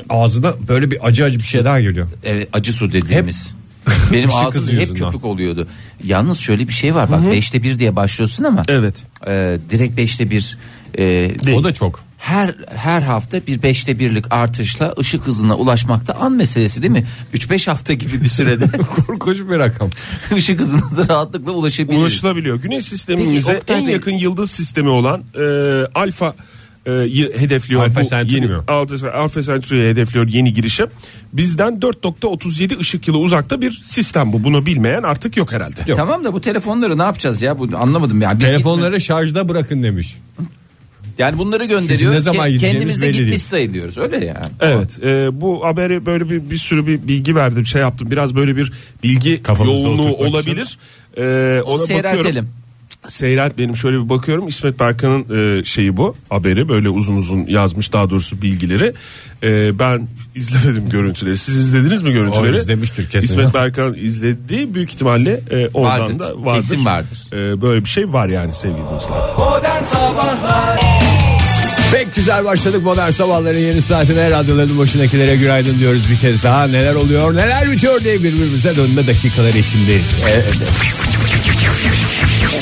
Speaker 2: ağzına böyle bir acı acı bir şeyler geliyor.
Speaker 4: Evet, acı su dediğimiz. Benim
Speaker 2: Işık
Speaker 4: ağzım
Speaker 2: hızı
Speaker 4: hep
Speaker 2: yüzünden.
Speaker 4: köpük oluyordu. Yalnız şöyle bir şey var bak 5'te 1 diye başlıyorsun ama.
Speaker 3: Evet.
Speaker 4: e, direkt 5'te 1 e,
Speaker 2: O da çok.
Speaker 4: her her hafta bir beşte birlik artışla ışık hızına ulaşmakta an meselesi değil mi? 3-5 hafta gibi bir sürede
Speaker 2: Korkunç bir rakam.
Speaker 4: ışık hızına da rahatlıkla ulaşabiliriz.
Speaker 3: Ulaşılabiliyor. Güneş sistemimize
Speaker 4: Peki, Oktay
Speaker 3: en
Speaker 4: Bey-
Speaker 3: yakın yıldız sistemi olan e, Alfa e, y- hedefliyor.
Speaker 2: Alfa
Speaker 3: bu
Speaker 2: Centauri
Speaker 3: yeni,
Speaker 2: mi?
Speaker 3: Alfa, Alfa Centauri'ye hedefliyor yeni girişim. Bizden 4.37 ışık yılı uzakta bir sistem bu. Bunu bilmeyen artık yok herhalde.
Speaker 4: Tamam da bu telefonları ne yapacağız ya? Bu anlamadım ya. Biz
Speaker 2: Telefonları şarjda bırakın demiş.
Speaker 4: gitme- yani bunları gönderiyoruz.
Speaker 2: ne zaman
Speaker 4: Ke-
Speaker 2: gideceğimiz
Speaker 4: kendimiz de
Speaker 2: belli
Speaker 4: gitmiş
Speaker 2: değil.
Speaker 4: sayılıyoruz. Öyle yani.
Speaker 3: Evet e, bu haberi böyle bir, bir sürü bir bilgi verdim şey yaptım biraz böyle bir bilgi
Speaker 2: Kafamızda
Speaker 3: yoğunluğu
Speaker 2: oturtmak
Speaker 3: olabilir. E, ona
Speaker 4: Seyreltelim.
Speaker 3: bakıyorum. Seyret benim şöyle bir bakıyorum İsmet Berkan'ın e, şeyi bu haberi böyle uzun uzun yazmış daha doğrusu bilgileri E, ben izlemedim görüntüleri siz izlediniz mi görüntüleri?
Speaker 2: O izlemiştir kesin.
Speaker 3: İsmet Berkan izledi büyük ihtimalle e, oradan
Speaker 4: Vardır.
Speaker 3: da vardır.
Speaker 4: Kesin vardır.
Speaker 3: E, böyle bir şey var yani sevgili dostlar.
Speaker 2: Pek güzel başladık modern sabahların yeni saatine radyoların başındakilere günaydın diyoruz bir kez daha. Neler oluyor neler bitiyor diye birbirimize dönme dakikaları içindeyiz.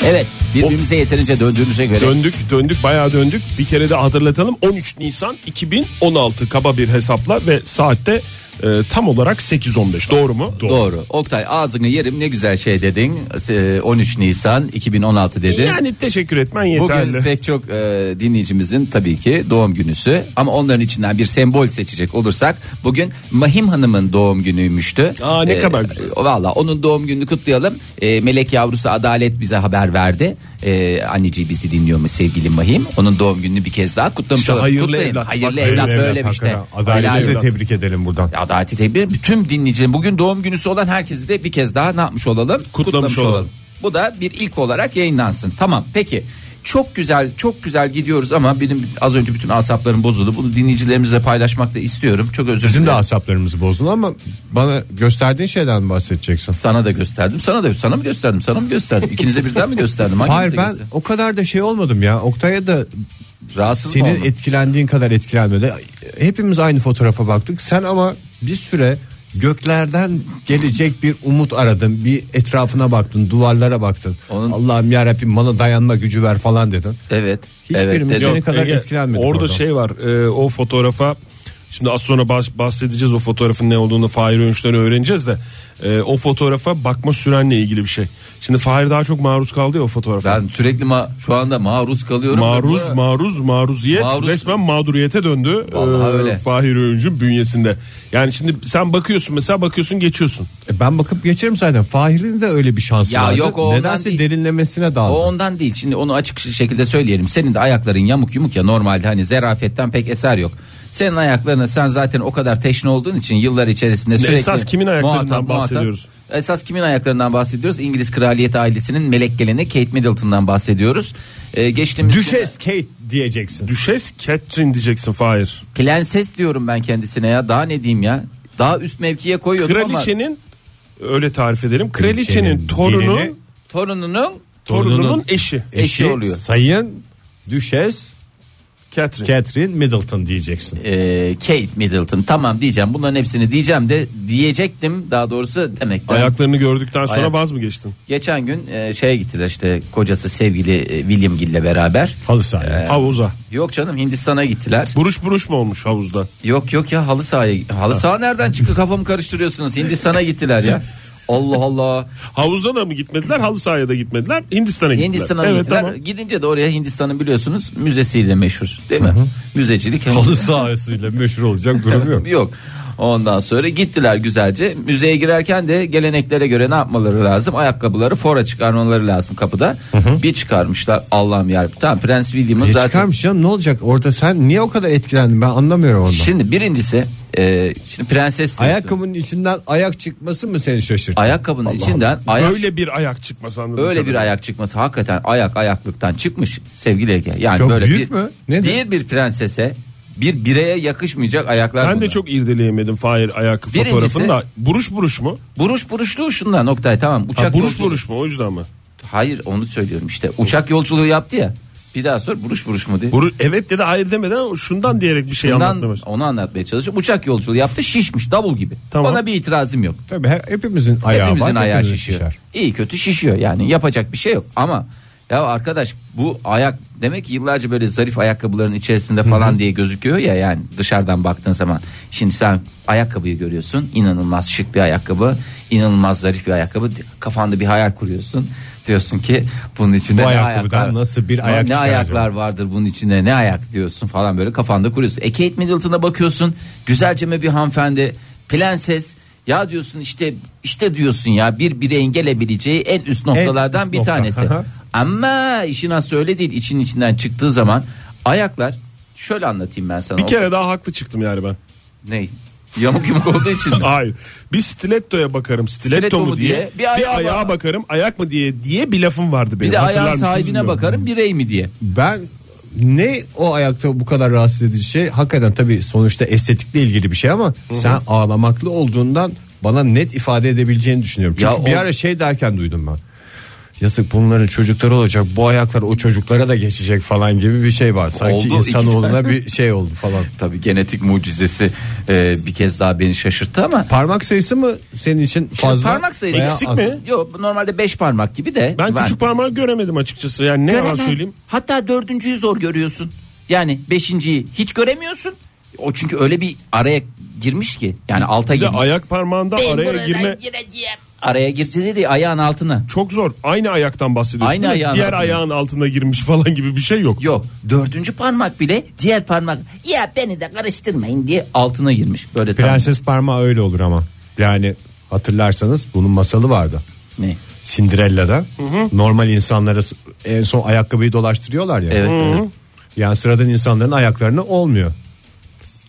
Speaker 4: Evet. Birbirimize yeterince döndüğümüze göre.
Speaker 3: Döndük döndük bayağı döndük bir kere de hatırlatalım 13 Nisan 2016 kaba bir hesapla ve saatte e, tam olarak 8.15 doğru mu?
Speaker 4: Doğru. Oktay ağzını yerim ne güzel şey dedin. Ee, 13 Nisan 2016 dedi.
Speaker 3: Yani teşekkür etmen yeterli.
Speaker 4: Bugün pek çok e, dinleyicimizin tabii ki doğum günüsü ama onların içinden bir sembol seçecek olursak bugün Mahim Hanım'ın doğum günüymüştü.
Speaker 3: Aa, ne kadar güzel.
Speaker 4: e, Valla onun doğum gününü kutlayalım. E, Melek yavrusu Adalet bize haber verdi. E, anneciği bizi dinliyor mu sevgili Mahim? Onun doğum gününü bir kez daha kutlamış
Speaker 3: İşte
Speaker 4: olalım.
Speaker 3: hayırlı
Speaker 4: Kutlayın.
Speaker 3: evlat.
Speaker 4: Hayırlı
Speaker 3: Bak,
Speaker 4: evlat şey.
Speaker 2: Evlat
Speaker 4: söylemiş de.
Speaker 2: hakikaten. Adaleti de
Speaker 4: Helal-
Speaker 2: tebrik edelim buradan.
Speaker 4: Adaleti tebrik. Bütün dinleyicilerin bugün doğum günüsü olan herkesi de bir kez daha ne yapmış olalım? Kutlamış,
Speaker 3: olalım.
Speaker 4: Bu da bir ilk olarak yayınlansın. Tamam peki. Çok güzel çok güzel gidiyoruz ama benim az önce bütün asaplarım bozuldu. Bunu dinleyicilerimizle paylaşmak da istiyorum. Çok özür
Speaker 2: Bizim de
Speaker 4: dilerim.
Speaker 2: asaplarımızı bozdun ama bana gösterdiğin şeyden bahsedeceksin.
Speaker 4: Sana da gösterdim. Sana da sana mı gösterdim? Sana mı gösterdim? İkinize birden mi gösterdim? Hanginize
Speaker 2: Hayır ben
Speaker 4: gösterdim?
Speaker 2: o kadar da şey olmadım ya. Oktay'a da
Speaker 4: rahatsız mı
Speaker 2: senin
Speaker 4: oldum?
Speaker 2: etkilendiğin kadar etkilenmedi. Hepimiz aynı fotoğrafa baktık. Sen ama bir süre göklerden gelecek bir umut aradın. Bir etrafına baktın, duvarlara baktın.
Speaker 4: Onun-
Speaker 2: Allah'ım ya Rabbim bana dayanma gücü ver falan dedin.
Speaker 4: Evet.
Speaker 2: Hiçbirimiz yok.
Speaker 4: evet, dedim.
Speaker 2: Ne kadar etkilenmedik
Speaker 3: Orada
Speaker 2: oradan.
Speaker 3: şey var e, o fotoğrafa şimdi az sonra bahs- bahsedeceğiz o fotoğrafın ne olduğunu Fahir Önç'ten öğreneceğiz de e, o fotoğrafa bakma sürenle ilgili bir şey. Şimdi Fahir daha çok maruz kaldı ya o fotoğrafa.
Speaker 4: Ben sürekli ma- şu anda maruz kalıyorum.
Speaker 3: Maruz,
Speaker 4: Ve bu-
Speaker 3: maruz, maruziyet
Speaker 4: Maruz.
Speaker 3: resmen mağduriyete döndü. e,
Speaker 4: Vallahi öyle.
Speaker 3: Fahir Öğüncü'nün bünyesinde. Yani şimdi sen bakıyorsun mesela bakıyorsun geçiyorsun.
Speaker 2: E Ben bakıp geçerim zaten. Fahir'in de öyle bir şansı
Speaker 4: Ya
Speaker 2: vardı.
Speaker 4: yok, o ondan
Speaker 2: Nedense
Speaker 4: değil.
Speaker 2: derinlemesine daldı.
Speaker 4: O ondan değil. Şimdi onu açık şekilde söyleyelim. Senin de ayakların yamuk yumuk ya normalde hani zerafetten pek eser yok. Senin ayaklarına sen zaten o kadar teşne olduğun için yıllar içerisinde sürekli
Speaker 3: esas kimin ayaklarından bahsediyoruz?
Speaker 4: Esas kimin ayaklarından bahsediyoruz? İngiliz kraliyet ailesinin melek geleni Kate Middleton'dan bahsediyoruz. Ee, geçtiğimiz
Speaker 2: Düşes Kate diyeceksin.
Speaker 3: Düşes Catherine diyeceksin Fahir.
Speaker 4: sene- Prenses diyorum ben kendisine ya. Daha ne diyeyim ya? Daha üst mevkiye koyuyordum ama
Speaker 3: Kraliçenin öyle tarif edelim. Kraliçenin
Speaker 2: Kraliçenin gelini-
Speaker 3: torunun
Speaker 4: torununun E-
Speaker 3: torununun eşi
Speaker 4: Eşi oluyor.
Speaker 2: Sayın Düşes
Speaker 3: Catherine.
Speaker 2: Catherine Middleton diyeceksin.
Speaker 4: e, Kate Middleton tamam diyeceğim bunların hepsini diyeceğim de diyecektim daha doğrusu demek
Speaker 3: Ayaklarını gördükten sonra
Speaker 4: Ayak-
Speaker 3: vaz mı geçtin?
Speaker 4: Geçen gün e, şeye gittiler işte kocası sevgili e, William Gill'le beraber.
Speaker 2: Halı sahaya.
Speaker 3: Havuza.
Speaker 4: Yok canım Hindistan'a gittiler.
Speaker 3: Buruş buruş mu olmuş havuzda?
Speaker 4: Yok yok ya halı sahaya. Halı saha nereden çıktı kafamı karıştırıyorsunuz. Hindistan'a gittiler ya. Allah Allah.
Speaker 3: Havuzda da mı gitmediler? Halı sahaya da gitmediler. Hindistan'a gittiler.
Speaker 4: Hindistan'a
Speaker 3: evet,
Speaker 4: gittiler.
Speaker 3: Tamam.
Speaker 4: Gidince de oraya Hindistan'ın biliyorsunuz müzesiyle meşhur değil mi? Müzecilik.
Speaker 2: Halı sahasıyla meşhur olacak durum yok.
Speaker 4: Yok. Ondan sonra gittiler güzelce. Müzeye girerken de geleneklere göre ne yapmaları lazım? Ayakkabıları fora çıkarmaları lazım kapıda. Bir çıkarmışlar Allah'ım yarabbim. Tamam Prens William'ın
Speaker 2: E
Speaker 4: zaten
Speaker 2: çıkarmış canım ne olacak orada sen niye o kadar etkilendin ben anlamıyorum ondan.
Speaker 4: Şimdi birincisi e, şimdi prenses diyorsun.
Speaker 2: Ayakkabının içinden ayak çıkması mı seni şaşırttı?
Speaker 4: ayakkabının içinden ayak öyle,
Speaker 3: Öyle bir ayak çıkmaz anladın.
Speaker 4: bir ayak çıkması hakikaten ayak ayaklıktan çıkmış sevgili Ege. Yani
Speaker 2: Çok
Speaker 4: böyle
Speaker 2: büyük
Speaker 4: bir
Speaker 2: mü? Nedir?
Speaker 4: diğer bir prensese bir bireye yakışmayacak ayaklar.
Speaker 3: Ben de
Speaker 4: bunlar.
Speaker 3: çok irdeleyemedim Fahir ayak
Speaker 4: Birincisi-
Speaker 3: fotoğrafını da. Buruş buruş mu?
Speaker 4: buruş buruşluğu şundan Oktay tamam uçak
Speaker 3: Ha, buruş
Speaker 4: yolculuğu-
Speaker 3: buruş mu o yüzden mi?
Speaker 4: Hayır onu söylüyorum işte. Uçak yolculuğu yaptı ya. Bir daha sor buruş buruş mu diye.
Speaker 3: Buru, evet dedi hayır demeden şundan diyerek bir şey
Speaker 4: Bundan
Speaker 3: anlatmamız.
Speaker 4: onu anlatmaya çalışıyorum. Uçak yolculuğu yaptı şişmiş davul gibi.
Speaker 3: Tamam.
Speaker 4: Bana bir itirazım yok.
Speaker 2: Tabii he- hepimizin ayağı
Speaker 4: Hepimizin
Speaker 2: var.
Speaker 4: ayağı
Speaker 2: hepimizin
Speaker 4: şişiyor.
Speaker 2: şişer.
Speaker 4: İyi kötü şişiyor yani yapacak bir şey yok ama ya arkadaş bu ayak Demek ki yıllarca böyle zarif ayakkabıların içerisinde falan diye gözüküyor ya yani dışarıdan baktığın zaman. Şimdi sen ayakkabıyı görüyorsun. inanılmaz şık bir ayakkabı, inanılmaz zarif bir ayakkabı. Kafanda bir hayal kuruyorsun. Diyorsun ki bunun içinde
Speaker 2: Bu
Speaker 4: ne
Speaker 2: ayakkabıdan
Speaker 4: ayaklar-
Speaker 2: nasıl bir ayak
Speaker 4: ne
Speaker 2: çıkar acaba?
Speaker 4: ayaklar ayaklar vardır bunun içinde ne ayak diyorsun falan böyle kafanda kuruyorsun. E Kate Middleton'a bakıyorsun güzelce mi bir hanımefendi prenses ya diyorsun işte işte diyorsun ya bir bireyin gelebileceği en üst noktalardan
Speaker 2: üst
Speaker 4: bir
Speaker 2: nokta.
Speaker 4: tanesi.
Speaker 2: Aha.
Speaker 4: Ama işin aslı öyle değil için içinden çıktığı zaman ayaklar şöyle anlatayım ben sana.
Speaker 3: Bir kere daha haklı çıktım yani ben.
Speaker 4: Ne? Yamuk yumuk olduğu için mi?
Speaker 3: Hayır. Bir stiletto'ya bakarım. Stiletto,
Speaker 4: Stiletto
Speaker 3: mu
Speaker 4: mu
Speaker 3: diye.
Speaker 4: diye,
Speaker 3: Bir,
Speaker 4: bir ayağa
Speaker 3: ayağa
Speaker 4: bak-
Speaker 3: bakarım. Ayak mı diye diye bir lafım vardı benim.
Speaker 4: Bir de
Speaker 3: Hatırlar
Speaker 4: ayağın
Speaker 3: mısınız
Speaker 4: sahibine
Speaker 3: bilmiyorum.
Speaker 4: bakarım birey mi diye.
Speaker 2: Ben ne o ayakta bu kadar rahatsız edici şey hakikaten tabii sonuçta estetikle ilgili bir şey ama sen ağlamaklı olduğundan bana net ifade edebileceğini düşünüyorum. Çünkü
Speaker 4: Ya
Speaker 2: bir
Speaker 4: o-
Speaker 2: ara şey derken duydum ben. Yazık bunların çocukları olacak bu ayaklar o çocuklara da geçecek falan gibi bir şey var. Sanki
Speaker 4: Oldu, iki
Speaker 2: insanoğluna bir şey oldu falan.
Speaker 4: Tabii genetik mucizesi e, bir kez daha beni şaşırttı ama
Speaker 2: Parmak sayısı mı senin için fazla?
Speaker 4: Şey, parmak sayısı
Speaker 2: veya
Speaker 3: Eksik
Speaker 2: az?
Speaker 3: mi?
Speaker 4: Yok bu normalde 5 parmak gibi de.
Speaker 3: Ben küçük parmağı göremedim açıkçası. Yani ne yalan
Speaker 4: Göremem.
Speaker 3: söyleyeyim.
Speaker 4: Hatta dördüncüyü zor görüyorsun. Yani beşinciyi hiç göremiyorsun. O çünkü öyle bir araya girmiş ki. Yani alta
Speaker 3: Bir de
Speaker 4: girmiş.
Speaker 3: ayak parmağında
Speaker 4: Ben
Speaker 3: araya
Speaker 4: buradan
Speaker 3: girme
Speaker 4: gireceğim. Araya girdi dedi ayağın altına.
Speaker 3: çok zor. Aynı ayaktan bahsediyorsun.
Speaker 4: Aynı
Speaker 3: değil mi?
Speaker 4: ayağın
Speaker 3: Diğer
Speaker 4: altına.
Speaker 3: ayağın altına girmiş falan gibi bir şey yok.
Speaker 4: Yok dördüncü parmak bile diğer parmak ya beni de karıştırmayın diye altına girmiş. Böyle tam-
Speaker 2: Prenses parmağı öyle olur ama. Yani hatırlarsanız bunun masalı vardı.
Speaker 4: Ne?
Speaker 2: Cinderella'da normal insanlara en son ayakkabıyı dolaştırıyorlar ya.
Speaker 4: Evet, evet.
Speaker 2: Yani sıradan insanların ayaklarına olmuyor.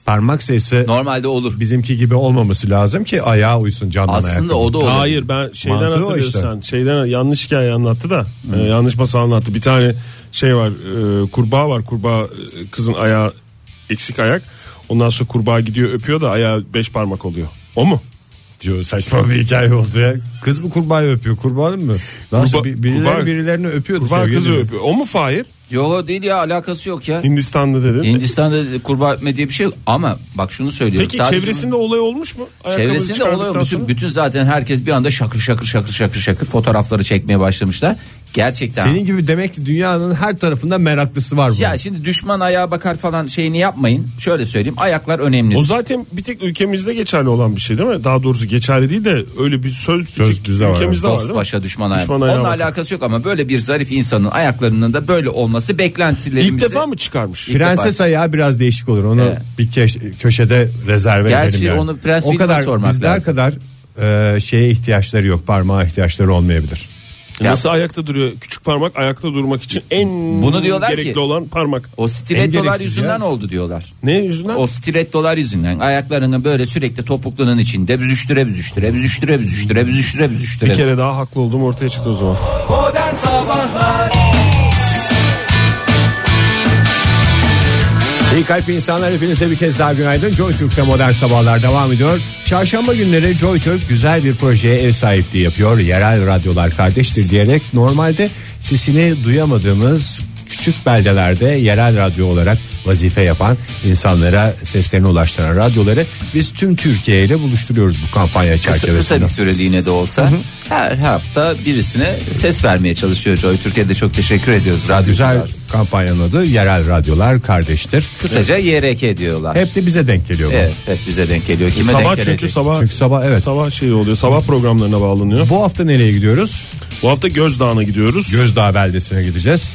Speaker 2: Parmak sayısı
Speaker 4: Normalde olur.
Speaker 2: bizimki gibi olmaması lazım ki ayağa uysun candan
Speaker 4: Aslında
Speaker 2: ayakkabı.
Speaker 4: o da olur.
Speaker 3: Hayır ben şeyden
Speaker 2: Mantığı o
Speaker 3: hatırlıyorsan şeyden yanlış hikaye anlattı da e, yanlış masal anlattı. Bir tane şey var e, kurbağa var kurbağa e, kızın ayağı eksik ayak. Ondan sonra kurbağa gidiyor öpüyor da ayağı beş parmak oluyor. O mu?
Speaker 2: diyor saçma bir hikaye oldu ya. Kız mı kurbağayı öpüyor kurbanın mı? Nasıl
Speaker 3: Kurba-
Speaker 2: bir- birileri
Speaker 3: kurbağa-
Speaker 2: birilerini öpüyordu.
Speaker 3: Kurbağa
Speaker 2: sevgili
Speaker 3: kızı
Speaker 2: dinleyici.
Speaker 3: öpüyor. O mu Fahir?
Speaker 4: Yok değil ya alakası yok ya.
Speaker 3: Hindistan'da dedin.
Speaker 4: Hindistan'da kurbağa öpme diye bir şey yok. Ama bak şunu söylüyorum.
Speaker 3: Peki
Speaker 4: Sadece-
Speaker 3: çevresinde olay olmuş mu? Ayakkabıyı
Speaker 4: Çevresinde
Speaker 3: çıkardıktan
Speaker 4: oluyor. Bütün,
Speaker 3: sonra-
Speaker 4: bütün zaten herkes bir anda şakır şakır şakır şakır şakır fotoğrafları çekmeye başlamışlar. Gerçekten.
Speaker 2: Senin gibi demek ki dünyanın her tarafında meraklısı var bu.
Speaker 4: Ya şimdi düşman ayağa bakar falan şeyini yapmayın. Şöyle söyleyeyim ayaklar önemli.
Speaker 3: O zaten bir tek ülkemizde geçerli olan bir şey değil mi? Daha doğrusu geçerli değil de öyle bir söz, bir
Speaker 2: Söz
Speaker 3: tek
Speaker 2: düze var,
Speaker 3: ülkemizde var,
Speaker 4: Dost
Speaker 3: değil mi?
Speaker 4: başa düşman ayağa.
Speaker 3: Düşman ayağa
Speaker 4: Onunla
Speaker 3: bakar.
Speaker 4: alakası yok ama böyle bir zarif insanın ayaklarının da böyle olması beklentilerimizi.
Speaker 3: İlk defa mı çıkarmış?
Speaker 4: İlk
Speaker 2: Prenses ayağı biraz değişik olur. Onu
Speaker 4: Evet.
Speaker 2: bir keş- köşede rezerve
Speaker 4: Gerçi
Speaker 2: edelim yani.
Speaker 4: onu Prens
Speaker 2: o
Speaker 4: William'a
Speaker 2: kadar
Speaker 4: sormak
Speaker 2: bizler
Speaker 4: lazım.
Speaker 2: kadar e, şeye ihtiyaçları yok. Parmağa ihtiyaçları olmayabilir.
Speaker 3: Nasıl ayakta duruyor? Küçük parmak ayakta durmak için en
Speaker 4: Bunu diyorlar
Speaker 3: gerekli
Speaker 4: ki-
Speaker 3: olan parmak.
Speaker 4: O stilettolar
Speaker 2: gereksiz
Speaker 4: yüzünden
Speaker 2: ya.
Speaker 4: oldu diyorlar.
Speaker 3: Ne yüzünden?
Speaker 4: O stilettolar yüzünden ayaklarını böyle sürekli topuklunun içinde büzüştüre büzüştüre büzüştüre büzüştüre büzüştüre büzüştüre.
Speaker 3: bir kere daha haklı olduğum ortaya çıktı o zaman.
Speaker 2: İyi kalp insanlar hepinize bir kez daha günaydın. Joy Türk'te modern sabahlar devam ediyor. Çarşamba günleri Joy Türk güzel bir projeye ev sahipliği yapıyor. Yerel radyolar kardeştir diyerek normalde sesini duyamadığımız küçük beldelerde yerel radyo olarak vazife yapan insanlara seslerini ulaştıran radyoları biz tüm Türkiye ile buluşturuyoruz bu kampanya
Speaker 4: kısa, kısa
Speaker 2: çerçevesinde.
Speaker 4: bir şey süreliğine de olsa her hafta birisine ses vermeye çalışıyor Joy. Türkiye'de çok teşekkür ediyoruz radyocular.
Speaker 2: Güzel kampanyanın adı yerel radyolar kardeştir.
Speaker 4: Kısaca YRK diyorlar.
Speaker 2: Hep de bize denk geliyor. bu.
Speaker 4: evet, hep bize denk geliyor. Kime
Speaker 3: sabah
Speaker 4: denk
Speaker 3: çünkü
Speaker 4: gelecek?
Speaker 3: sabah
Speaker 2: Çünkü sabah evet.
Speaker 3: sabah şey oluyor. Sabah programlarına bağlanıyor.
Speaker 2: Bu hafta nereye gidiyoruz?
Speaker 3: Bu hafta Gözdağ'ına gidiyoruz.
Speaker 2: Gözdağ beldesine gideceğiz.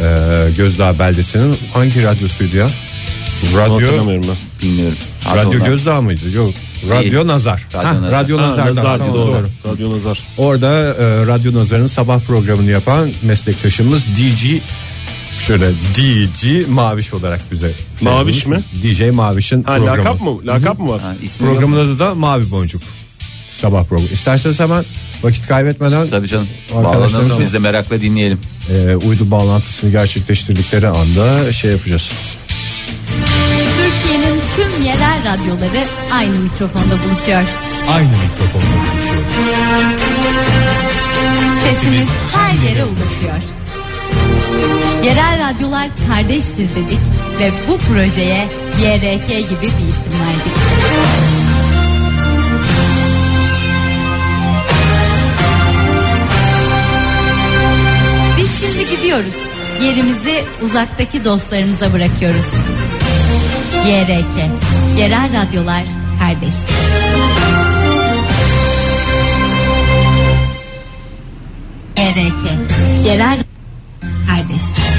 Speaker 2: Ee, Gözdağ beldesinin hangi radyosuydu ya? Radyo
Speaker 3: Hatırlamıyorum ben.
Speaker 4: Bilmiyorum. Adı
Speaker 2: Radyo
Speaker 4: onlar.
Speaker 2: Gözdağ mıydı? Yok. Radyo
Speaker 4: Değil.
Speaker 2: Nazar.
Speaker 4: Radyo
Speaker 2: Hah,
Speaker 4: Nazar.
Speaker 2: Radyo
Speaker 3: Ha,
Speaker 2: Nazar'dan.
Speaker 3: Nazar,
Speaker 2: Tamam,
Speaker 3: doğru.
Speaker 2: doğru.
Speaker 3: Radyo Nazar.
Speaker 2: Orada e, Radyo Nazar'ın sabah programını yapan meslektaşımız DJ şöyle DJ Maviş olarak bize. şey
Speaker 3: Maviş
Speaker 2: yapmış. DJ Maviş'in
Speaker 3: Ha,
Speaker 2: programı.
Speaker 3: lakap mı? Lakap mı var?
Speaker 4: Ha, ismi yok.
Speaker 2: Programın adı da Mavi Boncuk. Sabah programı. İsterseniz hemen vakit kaybetmeden
Speaker 4: Tabii canım.
Speaker 2: Arkadaşlarımız
Speaker 4: Bağlanalım
Speaker 2: var.
Speaker 4: biz de merakla dinleyelim.
Speaker 2: e, uydu bağlantısını gerçekleştirdikleri anda şey yapacağız.
Speaker 5: Türkiye'nin tüm yerel radyoları aynı mikrofonda buluşuyor.
Speaker 2: aynı mikrofonla konuşuyoruz.
Speaker 5: Sesimiz her yere ulaşıyor. Yerel radyolar kardeştir dedik ve bu projeye YRK gibi bir isim verdik. Biz şimdi gidiyoruz. Yerimizi uzaktaki dostlarımıza bırakıyoruz. YRK, Yerel Radyolar Kardeşlik. YRK, Yerel Kardeşlik.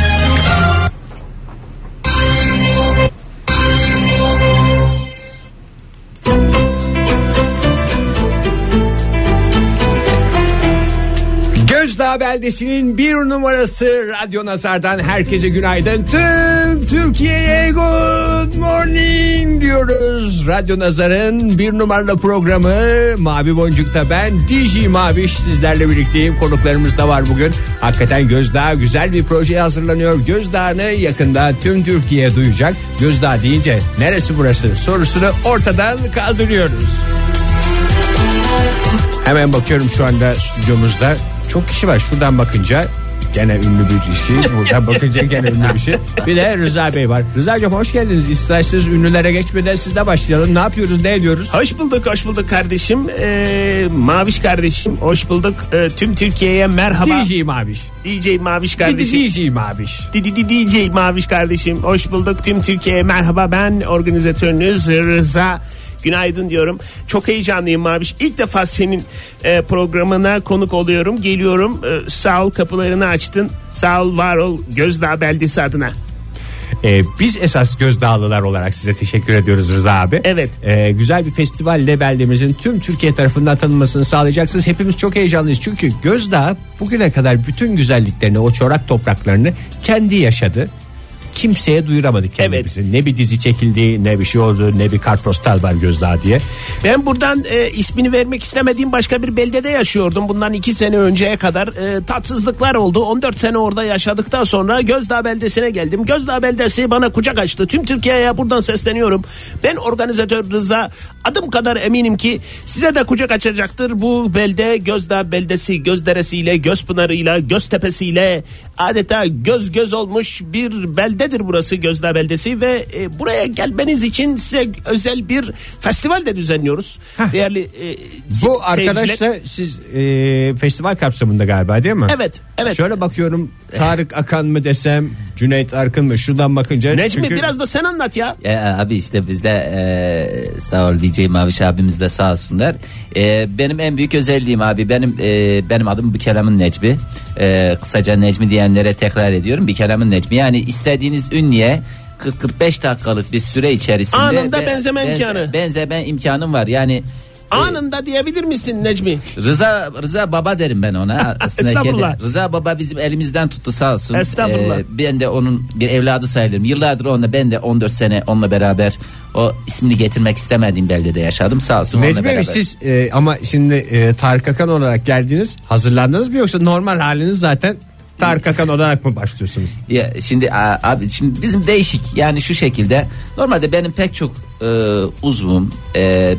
Speaker 2: Gözdağ beldesinin bir numarası Radyo Nazar'dan herkese günaydın. Tüm Türkiye'ye good morning diyoruz. Radyo Nazar'ın bir numaralı programı Mavi Boncuk'ta ben DJ Maviş sizlerle birlikteyim. Konuklarımız da var bugün. Hakikaten Gözdağ güzel bir projeye hazırlanıyor. Gözdağ'ını yakında tüm Türkiye duyacak. Gözdağ deyince neresi burası sorusunu ortadan kaldırıyoruz. Hemen bakıyorum şu anda stüdyomuzda. Çok kişi var şuradan bakınca gene ünlü bir kişi. Buradan bakınca gene ünlü bir şey. Bir de Rıza Bey var. Rıza'cığım hoş geldiniz. İsterseniz ünlülere geçmeden sizle başlayalım. Ne yapıyoruz ne ediyoruz?
Speaker 6: Hoş bulduk, hoş bulduk kardeşim. Ee, Maviş kardeşim, hoş bulduk. Ee, tüm Türkiye'ye merhaba.
Speaker 2: DJ Maviş.
Speaker 6: DJ Maviş kardeşim.
Speaker 2: DJ Maviş.
Speaker 6: Di- di- di- DJ Maviş kardeşim, hoş bulduk. Tüm Türkiye'ye merhaba. Ben organizatörünüz Rıza. Günaydın diyorum. Çok heyecanlıyım Maviş. İlk defa senin e, programına konuk oluyorum. Geliyorum. E, sağ ol kapılarını açtın. Sağ ol, var ol. Gözdağ Beldesi adına.
Speaker 2: Ee, biz esas gözdağlılar olarak size teşekkür ediyoruz Rıza abi.
Speaker 6: Evet.
Speaker 2: Ee, güzel bir festivalle beldemizin tüm Türkiye tarafından tanınmasını sağlayacaksınız. Hepimiz çok heyecanlıyız. Çünkü Gözdağ bugüne kadar bütün güzelliklerini, o çorak topraklarını kendi yaşadı. Kimseye duyuramadık kendimizi. Ne bir dizi çekildi, ne bir şey oldu, ne bir kartpostal var Gözdağ diye.
Speaker 6: Ben buradan e, ismini vermek istemediğim başka bir beldede yaşıyordum. Bundan iki sene önceye kadar e, tatsızlıklar oldu. 14 sene orada yaşadıktan sonra Gözdağ beldesine geldim. Gözdağ beldesi bana kucak açtı. Tüm Türkiye'ye buradan sesleniyorum. Ben organizatör Rıza adım kadar eminim ki size de kucak açacaktır. Bu belde Gözdağ beldesi Gözderesi'yle, Gözpınarı'yla, Göztepe'siyle adeta göz göz olmuş bir beldedir burası Gözdağ beldesi ve e, buraya gelmeniz için size özel bir festival de düzenliyoruz. Değerli e,
Speaker 2: Bu
Speaker 6: se-
Speaker 2: arkadaş
Speaker 6: seyirciler.
Speaker 2: da siz e, festival kapsamında galiba değil mi?
Speaker 6: Evet, evet.
Speaker 2: Şöyle bakıyorum Tarık Akan mı desem, Cüneyt Arkın mı? Şuradan bakınca.
Speaker 6: Necmi
Speaker 2: çünkü-
Speaker 6: biraz da sen anlat ya.
Speaker 4: Ya E, abi işte bizde e, sağ ol DJ Maviş abimiz de sağ olsunlar. E, benim en büyük özelliğim abi benim e, benim adım Bükelam'ın Necmi. E, kısaca Necmi diyenlere tekrar ediyorum Bükelam'ın Necmi. Yani istediğiniz ünlüye 40-45 dakikalık bir süre içerisinde
Speaker 6: Anında
Speaker 4: be-
Speaker 6: benzeme imkanı.
Speaker 4: Benzeme imkanım var. Yani e,
Speaker 6: Anında diyebilir misin Necmi?
Speaker 4: Rıza Rıza baba derim ben ona. Aslında
Speaker 6: Estağfurullah.
Speaker 4: şeyde- Rıza baba bizim elimizden tuttu sağ olsun.
Speaker 6: Estağfurullah.
Speaker 4: Ee, ben de onun bir evladı sayılırım. Yıllardır onunla ben de 14 sene onunla beraber o ismini getirmek istemediğim beldede yaşadım sağ olsun. onunla
Speaker 2: Necmi Bey
Speaker 4: beraber.
Speaker 2: siz e, ama şimdi e, Tarık Akan olarak geldiniz. Hazırlandınız mı yoksa normal haliniz zaten Tarık Akan olarak mı başlıyorsunuz?
Speaker 4: Ya şimdi a- abi şimdi bizim değişik yani şu şekilde normalde benim pek çok e, uzvum e,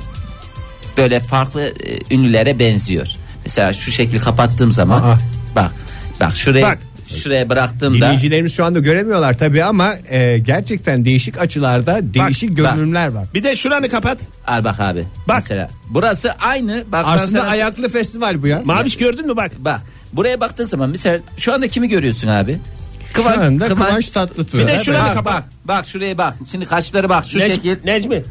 Speaker 4: böyle farklı e, ünlülere benziyor. Mesela şu şekil kapattığım zaman
Speaker 2: Aa.
Speaker 4: bak bak şuraya
Speaker 6: Bak.
Speaker 4: şuraya bıraktığımda
Speaker 2: Dinleyicilerimiz şu anda göremiyorlar tabii ama e, gerçekten değişik açılarda değişik
Speaker 4: bak.
Speaker 2: görünümler var.
Speaker 6: Bir de şuranı kapat.
Speaker 4: Al bak abi.
Speaker 6: Bak.
Speaker 4: Mesela burası aynı. Bak ben
Speaker 2: Aslında
Speaker 4: sana-
Speaker 2: ayaklı festival bu ya.
Speaker 6: Maviş gördün mü bak.
Speaker 4: Bak buraya baktığın zaman mesela şu anda kimi görüyorsun abi?
Speaker 2: Şu
Speaker 4: Kıvan-
Speaker 2: anda Kıvanç Tatlıtuğ.
Speaker 6: Bir de
Speaker 2: Evet.
Speaker 6: şurada
Speaker 4: Bak,
Speaker 6: kapat.
Speaker 4: bak bak şuraya bak. Şimdi kaşları bak şu
Speaker 6: Nec-
Speaker 4: şekil.
Speaker 6: Necmi.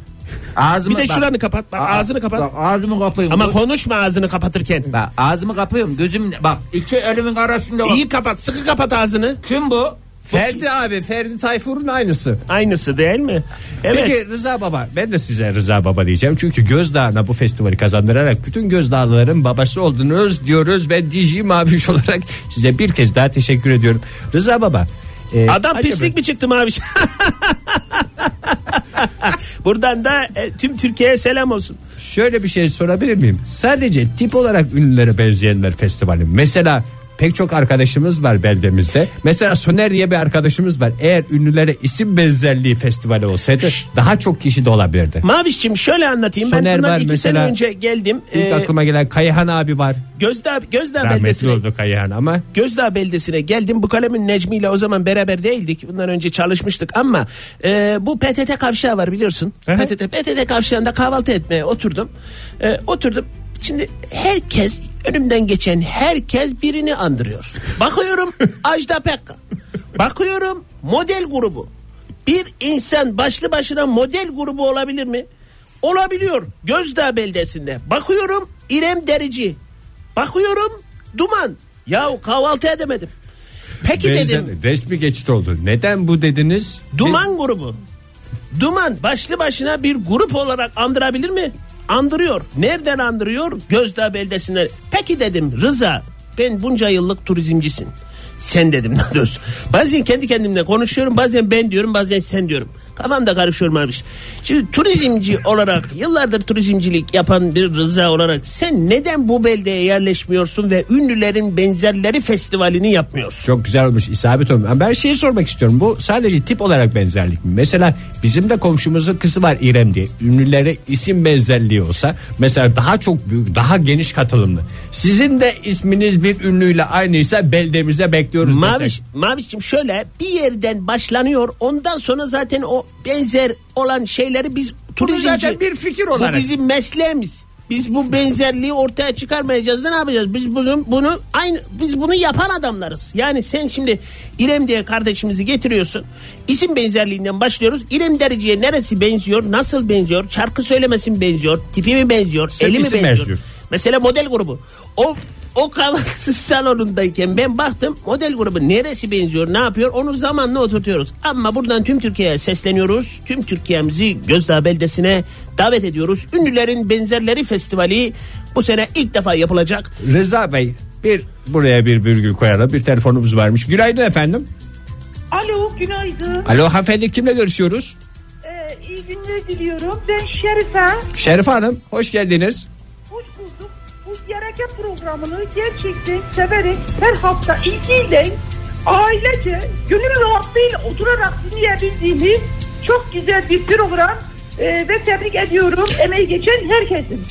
Speaker 4: Ağzımı
Speaker 6: Bir de
Speaker 4: bak.
Speaker 6: şuranı kapat. Bak
Speaker 4: Aa,
Speaker 6: ağzını kapat.
Speaker 4: Bak, ağzımı kapıyorum.
Speaker 6: Ama
Speaker 4: Dur.
Speaker 6: konuşma ağzını kapatırken.
Speaker 4: Bak, ağzımı kapıyorum. Gözüm bak iki elimin arasında bak.
Speaker 6: İyi kapat. Sıkı kapat ağzını.
Speaker 4: Kim bu?
Speaker 2: Ferdi abi Ferdi Tayfur'un aynısı.
Speaker 6: Aynısı değil mi? Evet.
Speaker 2: Peki Rıza Baba ben de size Rıza Baba diyeceğim. Çünkü Gözdağ'ına bu festivali kazandırarak bütün Gözdağlıların babası oldunuz diyoruz. Ben DJ Maviş olarak size bir kez daha teşekkür ediyorum. Rıza Baba. e,
Speaker 6: Adam
Speaker 2: acaba-
Speaker 6: pislik mi çıktı Maviş? Buradan da e, tüm Türkiye'ye selam olsun.
Speaker 2: Şöyle bir şey sorabilir miyim? Sadece tip olarak ünlülere benzeyenler festivali. Mesela pek çok arkadaşımız var beldemizde. Mesela Soner diye bir arkadaşımız var. Eğer ünlülere isim benzerliği festivali olsaydı daha çok kişi de olabilirdi.
Speaker 6: Maviş'cim şöyle anlatayım.
Speaker 2: Soner
Speaker 6: ben bundan
Speaker 2: var
Speaker 6: iki
Speaker 2: mesela.
Speaker 6: sene önce geldim.
Speaker 2: İlk
Speaker 6: Ee,
Speaker 2: aklıma gelen Kayhan abi var.
Speaker 6: Gözdağ, Gözdağ
Speaker 2: Rahmetli
Speaker 6: beldesine,
Speaker 2: oldu Kayhan ama
Speaker 6: Gözdağ beldesine geldim. Bu kalemin Necmi ile o zaman beraber değildik. Bundan önce çalışmıştık ama e, bu PTT kavşağı var biliyorsun.
Speaker 2: hı.
Speaker 6: PTT, PTT kavşağında kahvaltı etmeye oturdum. E, oturdum. Şimdi herkes önümden geçen herkes birini andırıyor. Bakıyorum Ajda Pekkan. Bakıyorum model grubu. Bir insan başlı başına model grubu olabilir mi? Olabiliyor. Gözdağ beldesinde. Bakıyorum İrem Derici. Bakıyorum Duman. Yahu kahvaltı edemedim. Peki dedim.
Speaker 2: Benzer, resmi geçit oldu. Neden bu dediniz?
Speaker 6: Duman grubu. Duman başlı başına bir grup olarak andırabilir mi? Andırıyor. Nereden andırıyor? Gözdağ beldesinden. Peki dedim Rıza ben bunca yıllık turizmcisin. Sen dedim daha doğrusu. Bazen kendi kendimle konuşuyorum bazen ben diyorum bazen sen diyorum. Kafamda karışıyorum abi. Şimdi turizmci olarak yıllardır turizmcilik yapan bir Rıza olarak sen neden bu beldeye yerleşmiyorsun ve ünlülerin benzerleri festivalini yapmıyorsun?
Speaker 2: Çok güzel olmuş isabet olmuş. Ben şeyi sormak istiyorum. Bu sadece tip olarak benzerlik mi? Mesela bizim de komşumuzun kızı var İrem diye. Ünlülere isim benzerliği olsa mesela daha çok büyük, daha geniş katılımlı. Sizin de isminiz bir ünlüyle aynıysa beldemize bekliyoruz.
Speaker 6: Maviş,
Speaker 2: desek.
Speaker 6: Maviş'cim şöyle bir yerden başlanıyor ondan sonra zaten o benzer olan şeyleri biz turizmci...
Speaker 2: zaten bir fikir olarak.
Speaker 6: Bu bizim mesleğimiz. Biz bu benzerliği ortaya çıkarmayacağız da ne yapacağız? Biz bunu, bunu aynı biz bunu yapan adamlarız. Yani sen şimdi İrem diye kardeşimizi getiriyorsun. İsim benzerliğinden başlıyoruz. İrem Derici'ye neresi benziyor? Nasıl benziyor? Şarkı söylemesi mi benziyor? Tipi mi benziyor?
Speaker 2: Sırf
Speaker 6: eli mi
Speaker 2: isim
Speaker 6: benziyor?
Speaker 2: benziyor.
Speaker 6: Mesela model grubu. O o kahvaltı salonundayken ben baktım model grubu neresi benziyor ne yapıyor onu zamanla oturtuyoruz. Ama buradan tüm Türkiye'ye sesleniyoruz. Tüm Türkiye'mizi Gözdağ beldesine davet ediyoruz. Ünlülerin Benzerleri Festivali bu sene ilk defa yapılacak.
Speaker 2: Rıza Bey bir buraya bir virgül koyalım. Bir telefonumuz varmış. Günaydın efendim.
Speaker 7: Alo günaydın.
Speaker 2: Alo hanımefendi kimle görüşüyoruz?
Speaker 7: Ee, iyi günler diliyorum. Ben Şerife.
Speaker 2: Şerife Hanım hoş geldiniz.
Speaker 7: Hoş bulduk. Bu yereke programını gerçekten severek her hafta ilgiyle ailece gönül rahatlığıyla oturarak dinleyebildiğimiz çok güzel bir program. Ee, ve tebrik ediyorum emeği geçen herkesin.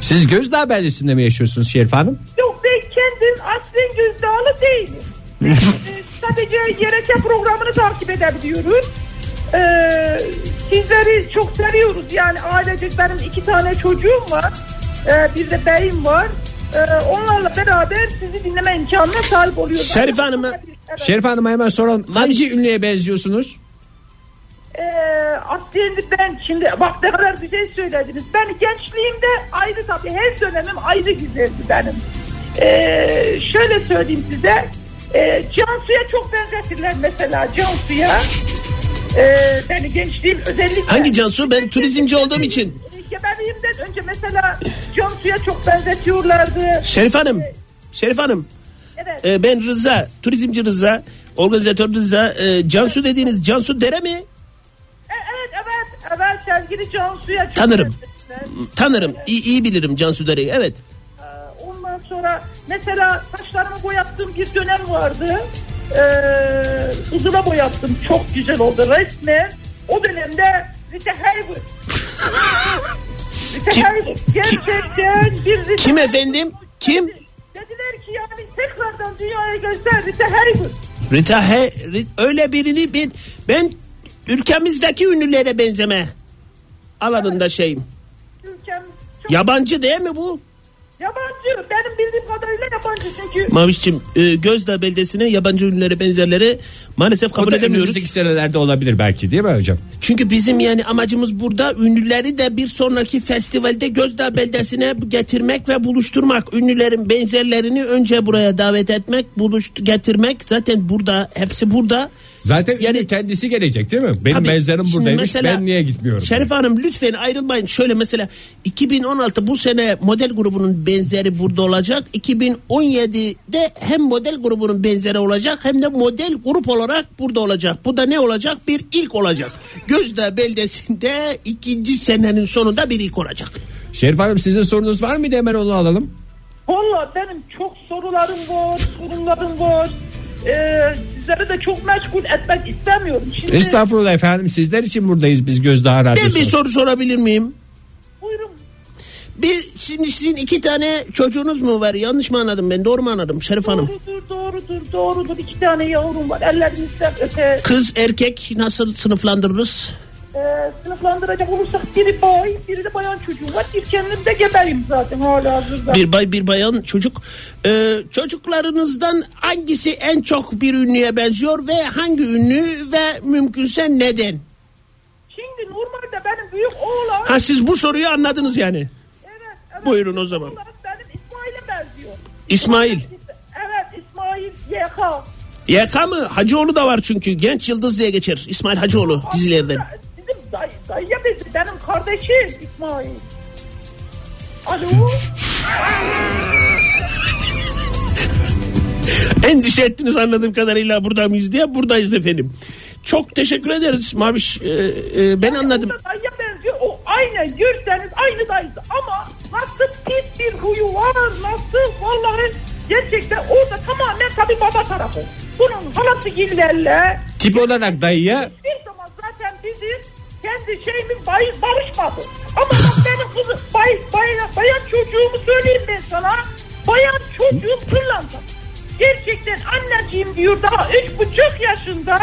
Speaker 2: Siz Gözdağ beldesinde mi yaşıyorsunuz Şerife Hanım?
Speaker 7: Yok ben kendim aslen gözdağlı değilim. Ee, Sadece yereke programını takip edebiliyorum. Ee, sizleri çok seviyoruz yani ailecek benim iki tane çocuğum var. Ee, bir de beyim var. Ee, onlarla beraber sizi dinleme imkanına sahip oluyorum.
Speaker 6: Şerife Hanım'a-
Speaker 7: Evet.
Speaker 2: Şerife Hanım'a hemen soralım. Hangi ünlüye benziyorsunuz?
Speaker 7: Ee, aslında ben şimdi bak ne kadar güzel söylediniz. Ben gençliğimde ayrı tabii her dönemim ayrı güzeldi benim. Ee, şöyle söyleyeyim size. Ee, Cansu'ya çok benzetirler mesela Cansu'ya. Ee, yani gençliğim özellikle.
Speaker 6: Hangi Cansu? Ben turizmci olduğum için.
Speaker 7: Gebeliğimden önce mesela Cansu'ya çok benzetiyorlardı.
Speaker 6: Şerif Hanım. Şerif Hanım.
Speaker 7: Evet.
Speaker 6: e, ben Rıza. Turizmci Rıza. Organizatör Rıza. e, Cansu dediğiniz Cansu Dere mi?
Speaker 7: E, evet evet evet sevgili Cansu'ya çok
Speaker 6: Tanırım.
Speaker 7: benzetirler.
Speaker 6: Tanırım. İyi, iyi bilirim Cansu Dere'yi. Evet.
Speaker 7: Ee, Ondan sonra mesela saçlarımı boyattığım bir dönem vardı. Ee, uzuna boyattım. Çok güzel oldu resmen. O dönemde Rita Hayworth. Rita Hayworth. Gerçekten bir Rita
Speaker 6: Kim
Speaker 7: Hayworth.
Speaker 6: efendim? Kim?
Speaker 7: Dediler ki yani tekrardan dünyaya göster Rita Hayworth.
Speaker 6: Rita He, Ri- öyle birini ben, ben ülkemizdeki ünlülere benzeme alanında şeyim.
Speaker 7: Ülkem çok
Speaker 6: Yabancı değil mi bu?
Speaker 7: yabancı. Benim bildiğim kadarıyla yabancı çünkü.
Speaker 6: Mavişçim e, Gözdağ beldesine yabancı ünlülere benzerleri maalesef kabul
Speaker 2: O da
Speaker 6: edemiyoruz.
Speaker 2: önümüzdeki senelerde olabilir belki değil mi hocam?
Speaker 6: Çünkü bizim yani amacımız burada ünlüleri de bir sonraki festivalde Gözdağ beldesine getirmek ve buluşturmak. Ünlülerin benzerlerini önce buraya davet etmek, buluş getirmek zaten burada hepsi burada.
Speaker 2: Zaten yani kendisi gelecek değil mi? Benim
Speaker 6: Tabii.
Speaker 2: benzerim
Speaker 6: Şimdi
Speaker 2: buradaymış
Speaker 6: mesela
Speaker 2: ben niye gitmiyorum?
Speaker 6: Şerif Hanım lütfen ayrılmayın. Şöyle mesela 2016 bu sene model grubunun benzeri burada olacak. 2017'de hem model grubunun benzeri olacak hem de model grup olarak burada olacak. Bu da ne olacak? Bir ilk olacak. Gözde beldesinde ikinci senenin sonunda bir ilk olacak.
Speaker 2: Şerif Hanım sizin sorunuz var mıydı hemen onu alalım.
Speaker 7: Valla benim çok sorularım var, sorunlarım var. Ee, sizleri de çok meşgul etmek istemiyorum. Şimdi
Speaker 2: Estağfurullah efendim sizler için buradayız biz Gözdağ
Speaker 6: Ben
Speaker 2: Radyosu.
Speaker 6: bir soru sorabilir miyim?
Speaker 7: buyurun.
Speaker 6: Bir, şimdi sizin iki tane çocuğunuz mu var? Yanlış mı anladım ben? Doğru mu anladım Şerif Hanım?
Speaker 7: Doğrudur, doğrudur, doğrudur. İki tane yavrum var. Ellerinizden öpe.
Speaker 6: Kız erkek nasıl sınıflandırırız?
Speaker 7: e, sınıflandıracak olursak biri boy, biri de bayan çocuğu var. Bir kendim de gebeyim zaten hala hazırda.
Speaker 6: Bir bay bir bayan çocuk. Ee, çocuklarınızdan hangisi en çok bir ünlüye benziyor ve hangi ünlü ve mümkünse neden?
Speaker 7: Şimdi normalde benim büyük oğlan...
Speaker 6: Ha siz bu soruyu anladınız yani.
Speaker 7: Evet, evet,
Speaker 6: Buyurun o zaman.
Speaker 7: Oğlan benim İsmail'e benziyor.
Speaker 6: İsmail.
Speaker 7: Evet İsmail YK.
Speaker 6: YK mı? Hacıoğlu da var çünkü. Genç Yıldız diye geçer. İsmail Hacıoğlu dizilerden.
Speaker 7: Aslında Bizim dayı, dayıya benziyor. Benim kardeşim İsmail. Alo.
Speaker 6: Endişe ettiniz anladığım kadarıyla burada mıyız diye. Buradayız efendim. Çok teşekkür ederiz Maviş. Ee, e, ben anladım.
Speaker 7: O da dayıya benziyor. O aynı görseniz aynı dayısı. Ama nasıl pis bir huyu var. Nasıl vallahi gerçekten orada tamamen tabii baba tarafı. Bunun halası gillerle
Speaker 2: Tip olarak dayıya
Speaker 7: bir zaman zaten bizim kendi şeyimiz bayız barışmadı. Ama bak benim kızım bay, bay, bayan çocuğumu söyleyeyim ben sana. Bayan çocuğum fırlandı. Gerçekten anneciğim diyor daha üç buçuk yaşında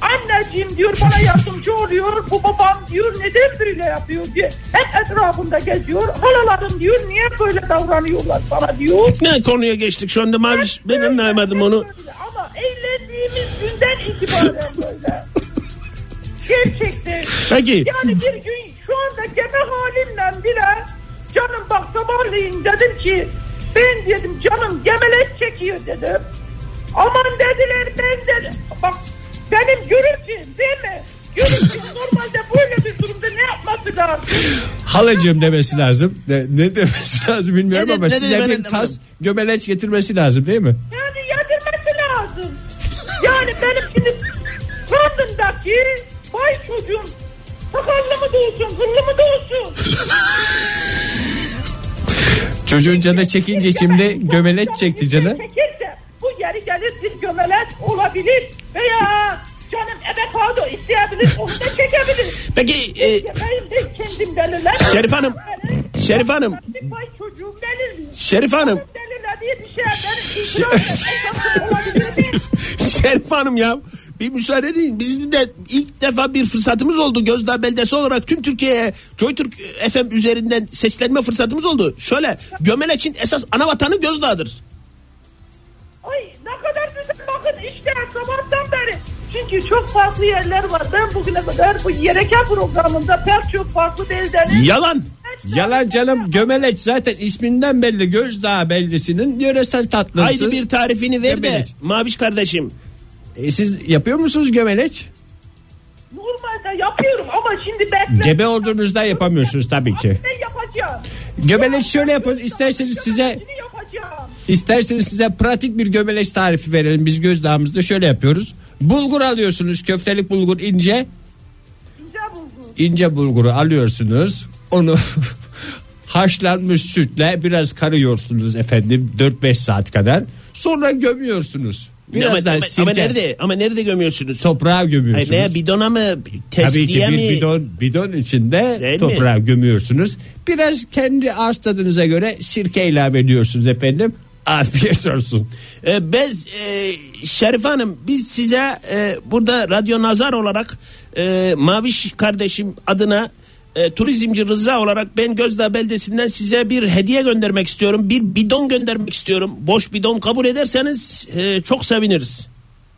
Speaker 7: anneciğim diyor bana yardımcı oluyor. Bu babam diyor neden böyle yapıyor diye. Hep etrafında geziyor. Halalarım diyor niye böyle davranıyorlar bana diyor.
Speaker 6: Ne konuya geçtik şu anda Maviş? Ben
Speaker 7: Böyle,
Speaker 6: anlamadım
Speaker 7: böyle
Speaker 6: onu.
Speaker 7: böyle. Ama eğlendiğimiz günden itibaren böyle. Gerçekten.
Speaker 6: Peki.
Speaker 7: Yani bir gün şu anda gebe halimle bile canım bak sabahleyin dedim ki ben dedim canım gemelek çekiyor dedim. Aman dediler ben de bak benim gürültüm değil mi? Gürültüm normalde böyle bir durumda ne yapması lazım?
Speaker 2: halacığım demesi lazım. Ne, ne demesi lazım bilmiyorum
Speaker 6: Ne de-
Speaker 2: ama
Speaker 6: ne de-
Speaker 2: size
Speaker 6: ben
Speaker 2: bir
Speaker 6: anlamadım.
Speaker 2: tas gömeleç getirmesi lazım değil mi?
Speaker 7: Yani yedirmesi lazım. Yani benim şimdi kadındaki vay çocuğum sakallı mı da olsun, hırlı mı da olsun.
Speaker 2: Çocuğun canı çekince şimdi gömeleç çekti canı.
Speaker 7: Çekirse bu yeri gelir bir gömeleç olabilir veya canım eve pardon isteyebilir onu da çekebilir.
Speaker 6: Peki e,
Speaker 7: Benim de kendim belirler.
Speaker 6: Şerif Hanım, Şerif Hanım.
Speaker 7: Benim Vay çocuğum belirli.
Speaker 6: Şerif Hanım.
Speaker 7: Belirle diye bir şey benim itiraf olabilir değil.
Speaker 6: Şerif Hanım ya bir müsaade edin. Bizim de ilk defa bir fırsatımız oldu. Gözdağ beldesi olarak tüm Türkiye'ye JoyTürk FM üzerinden seslenme fırsatımız oldu. Şöyle Gömeleç'in esas ana vatanı Gözdağ'dır.
Speaker 7: Ay ne kadar güzel bakın işte sabahtan beri. Çünkü çok farklı yerler var. Ben bugüne kadar bu yereke programında pek çok farklı beldenin...
Speaker 6: Yalan.
Speaker 2: Yalan canım gömeleç zaten isminden belli Gözdağı beldesinin yöresel tatlısı.
Speaker 6: Haydi bir tarifini ver de
Speaker 2: Gömeleç.
Speaker 6: Maviş kardeşim.
Speaker 2: E, siz yapıyor musunuz gömeleç?
Speaker 7: Normalde yapıyorum ama şimdi ben...
Speaker 2: Gebe olduğunuzda yapamıyorsunuz tabii ki.
Speaker 7: Ben yapacağım.
Speaker 2: Gömeleç şöyle yapın isterseniz size
Speaker 7: Şimdi yapacağım.
Speaker 2: İsterseniz size pratik bir gömeleç tarifi verelim. Biz gözdağımızda şöyle yapıyoruz. Bulgur alıyorsunuz. Köftelik bulgur ince.
Speaker 7: Güzel buldum.
Speaker 2: ince bulguru alıyorsunuz. Onu haşlanmış sütle biraz karıyorsunuz efendim 4-5 saat kadar. Sonra gömüyorsunuz.
Speaker 6: ama,
Speaker 2: Biraz da
Speaker 6: ama-
Speaker 2: sirke
Speaker 6: ama nerede? Ama nerede gömüyorsunuz?
Speaker 2: toprağa
Speaker 6: Ay,
Speaker 2: gömüyorsunuz.
Speaker 6: ne bidona mı?
Speaker 2: Tabii ki
Speaker 6: Testiye
Speaker 2: bir
Speaker 6: mi?
Speaker 2: bidon, bidon içinde
Speaker 6: Değil mi?
Speaker 2: toprağa gömüyorsunuz. Biraz kendi ağız tadınıza göre sirke ilave ediyorsunuz efendim. Afiyet olsun.
Speaker 6: Ee, biz e, Şerife Hanım biz size e, burada Radyo Nazar olarak e, Maviş kardeşim adına e, turizmci Rıza olarak ben Gözdağ beldesinden size bir hediye göndermek istiyorum. Bir bidon göndermek istiyorum. Boş bidon kabul ederseniz e, çok seviniriz.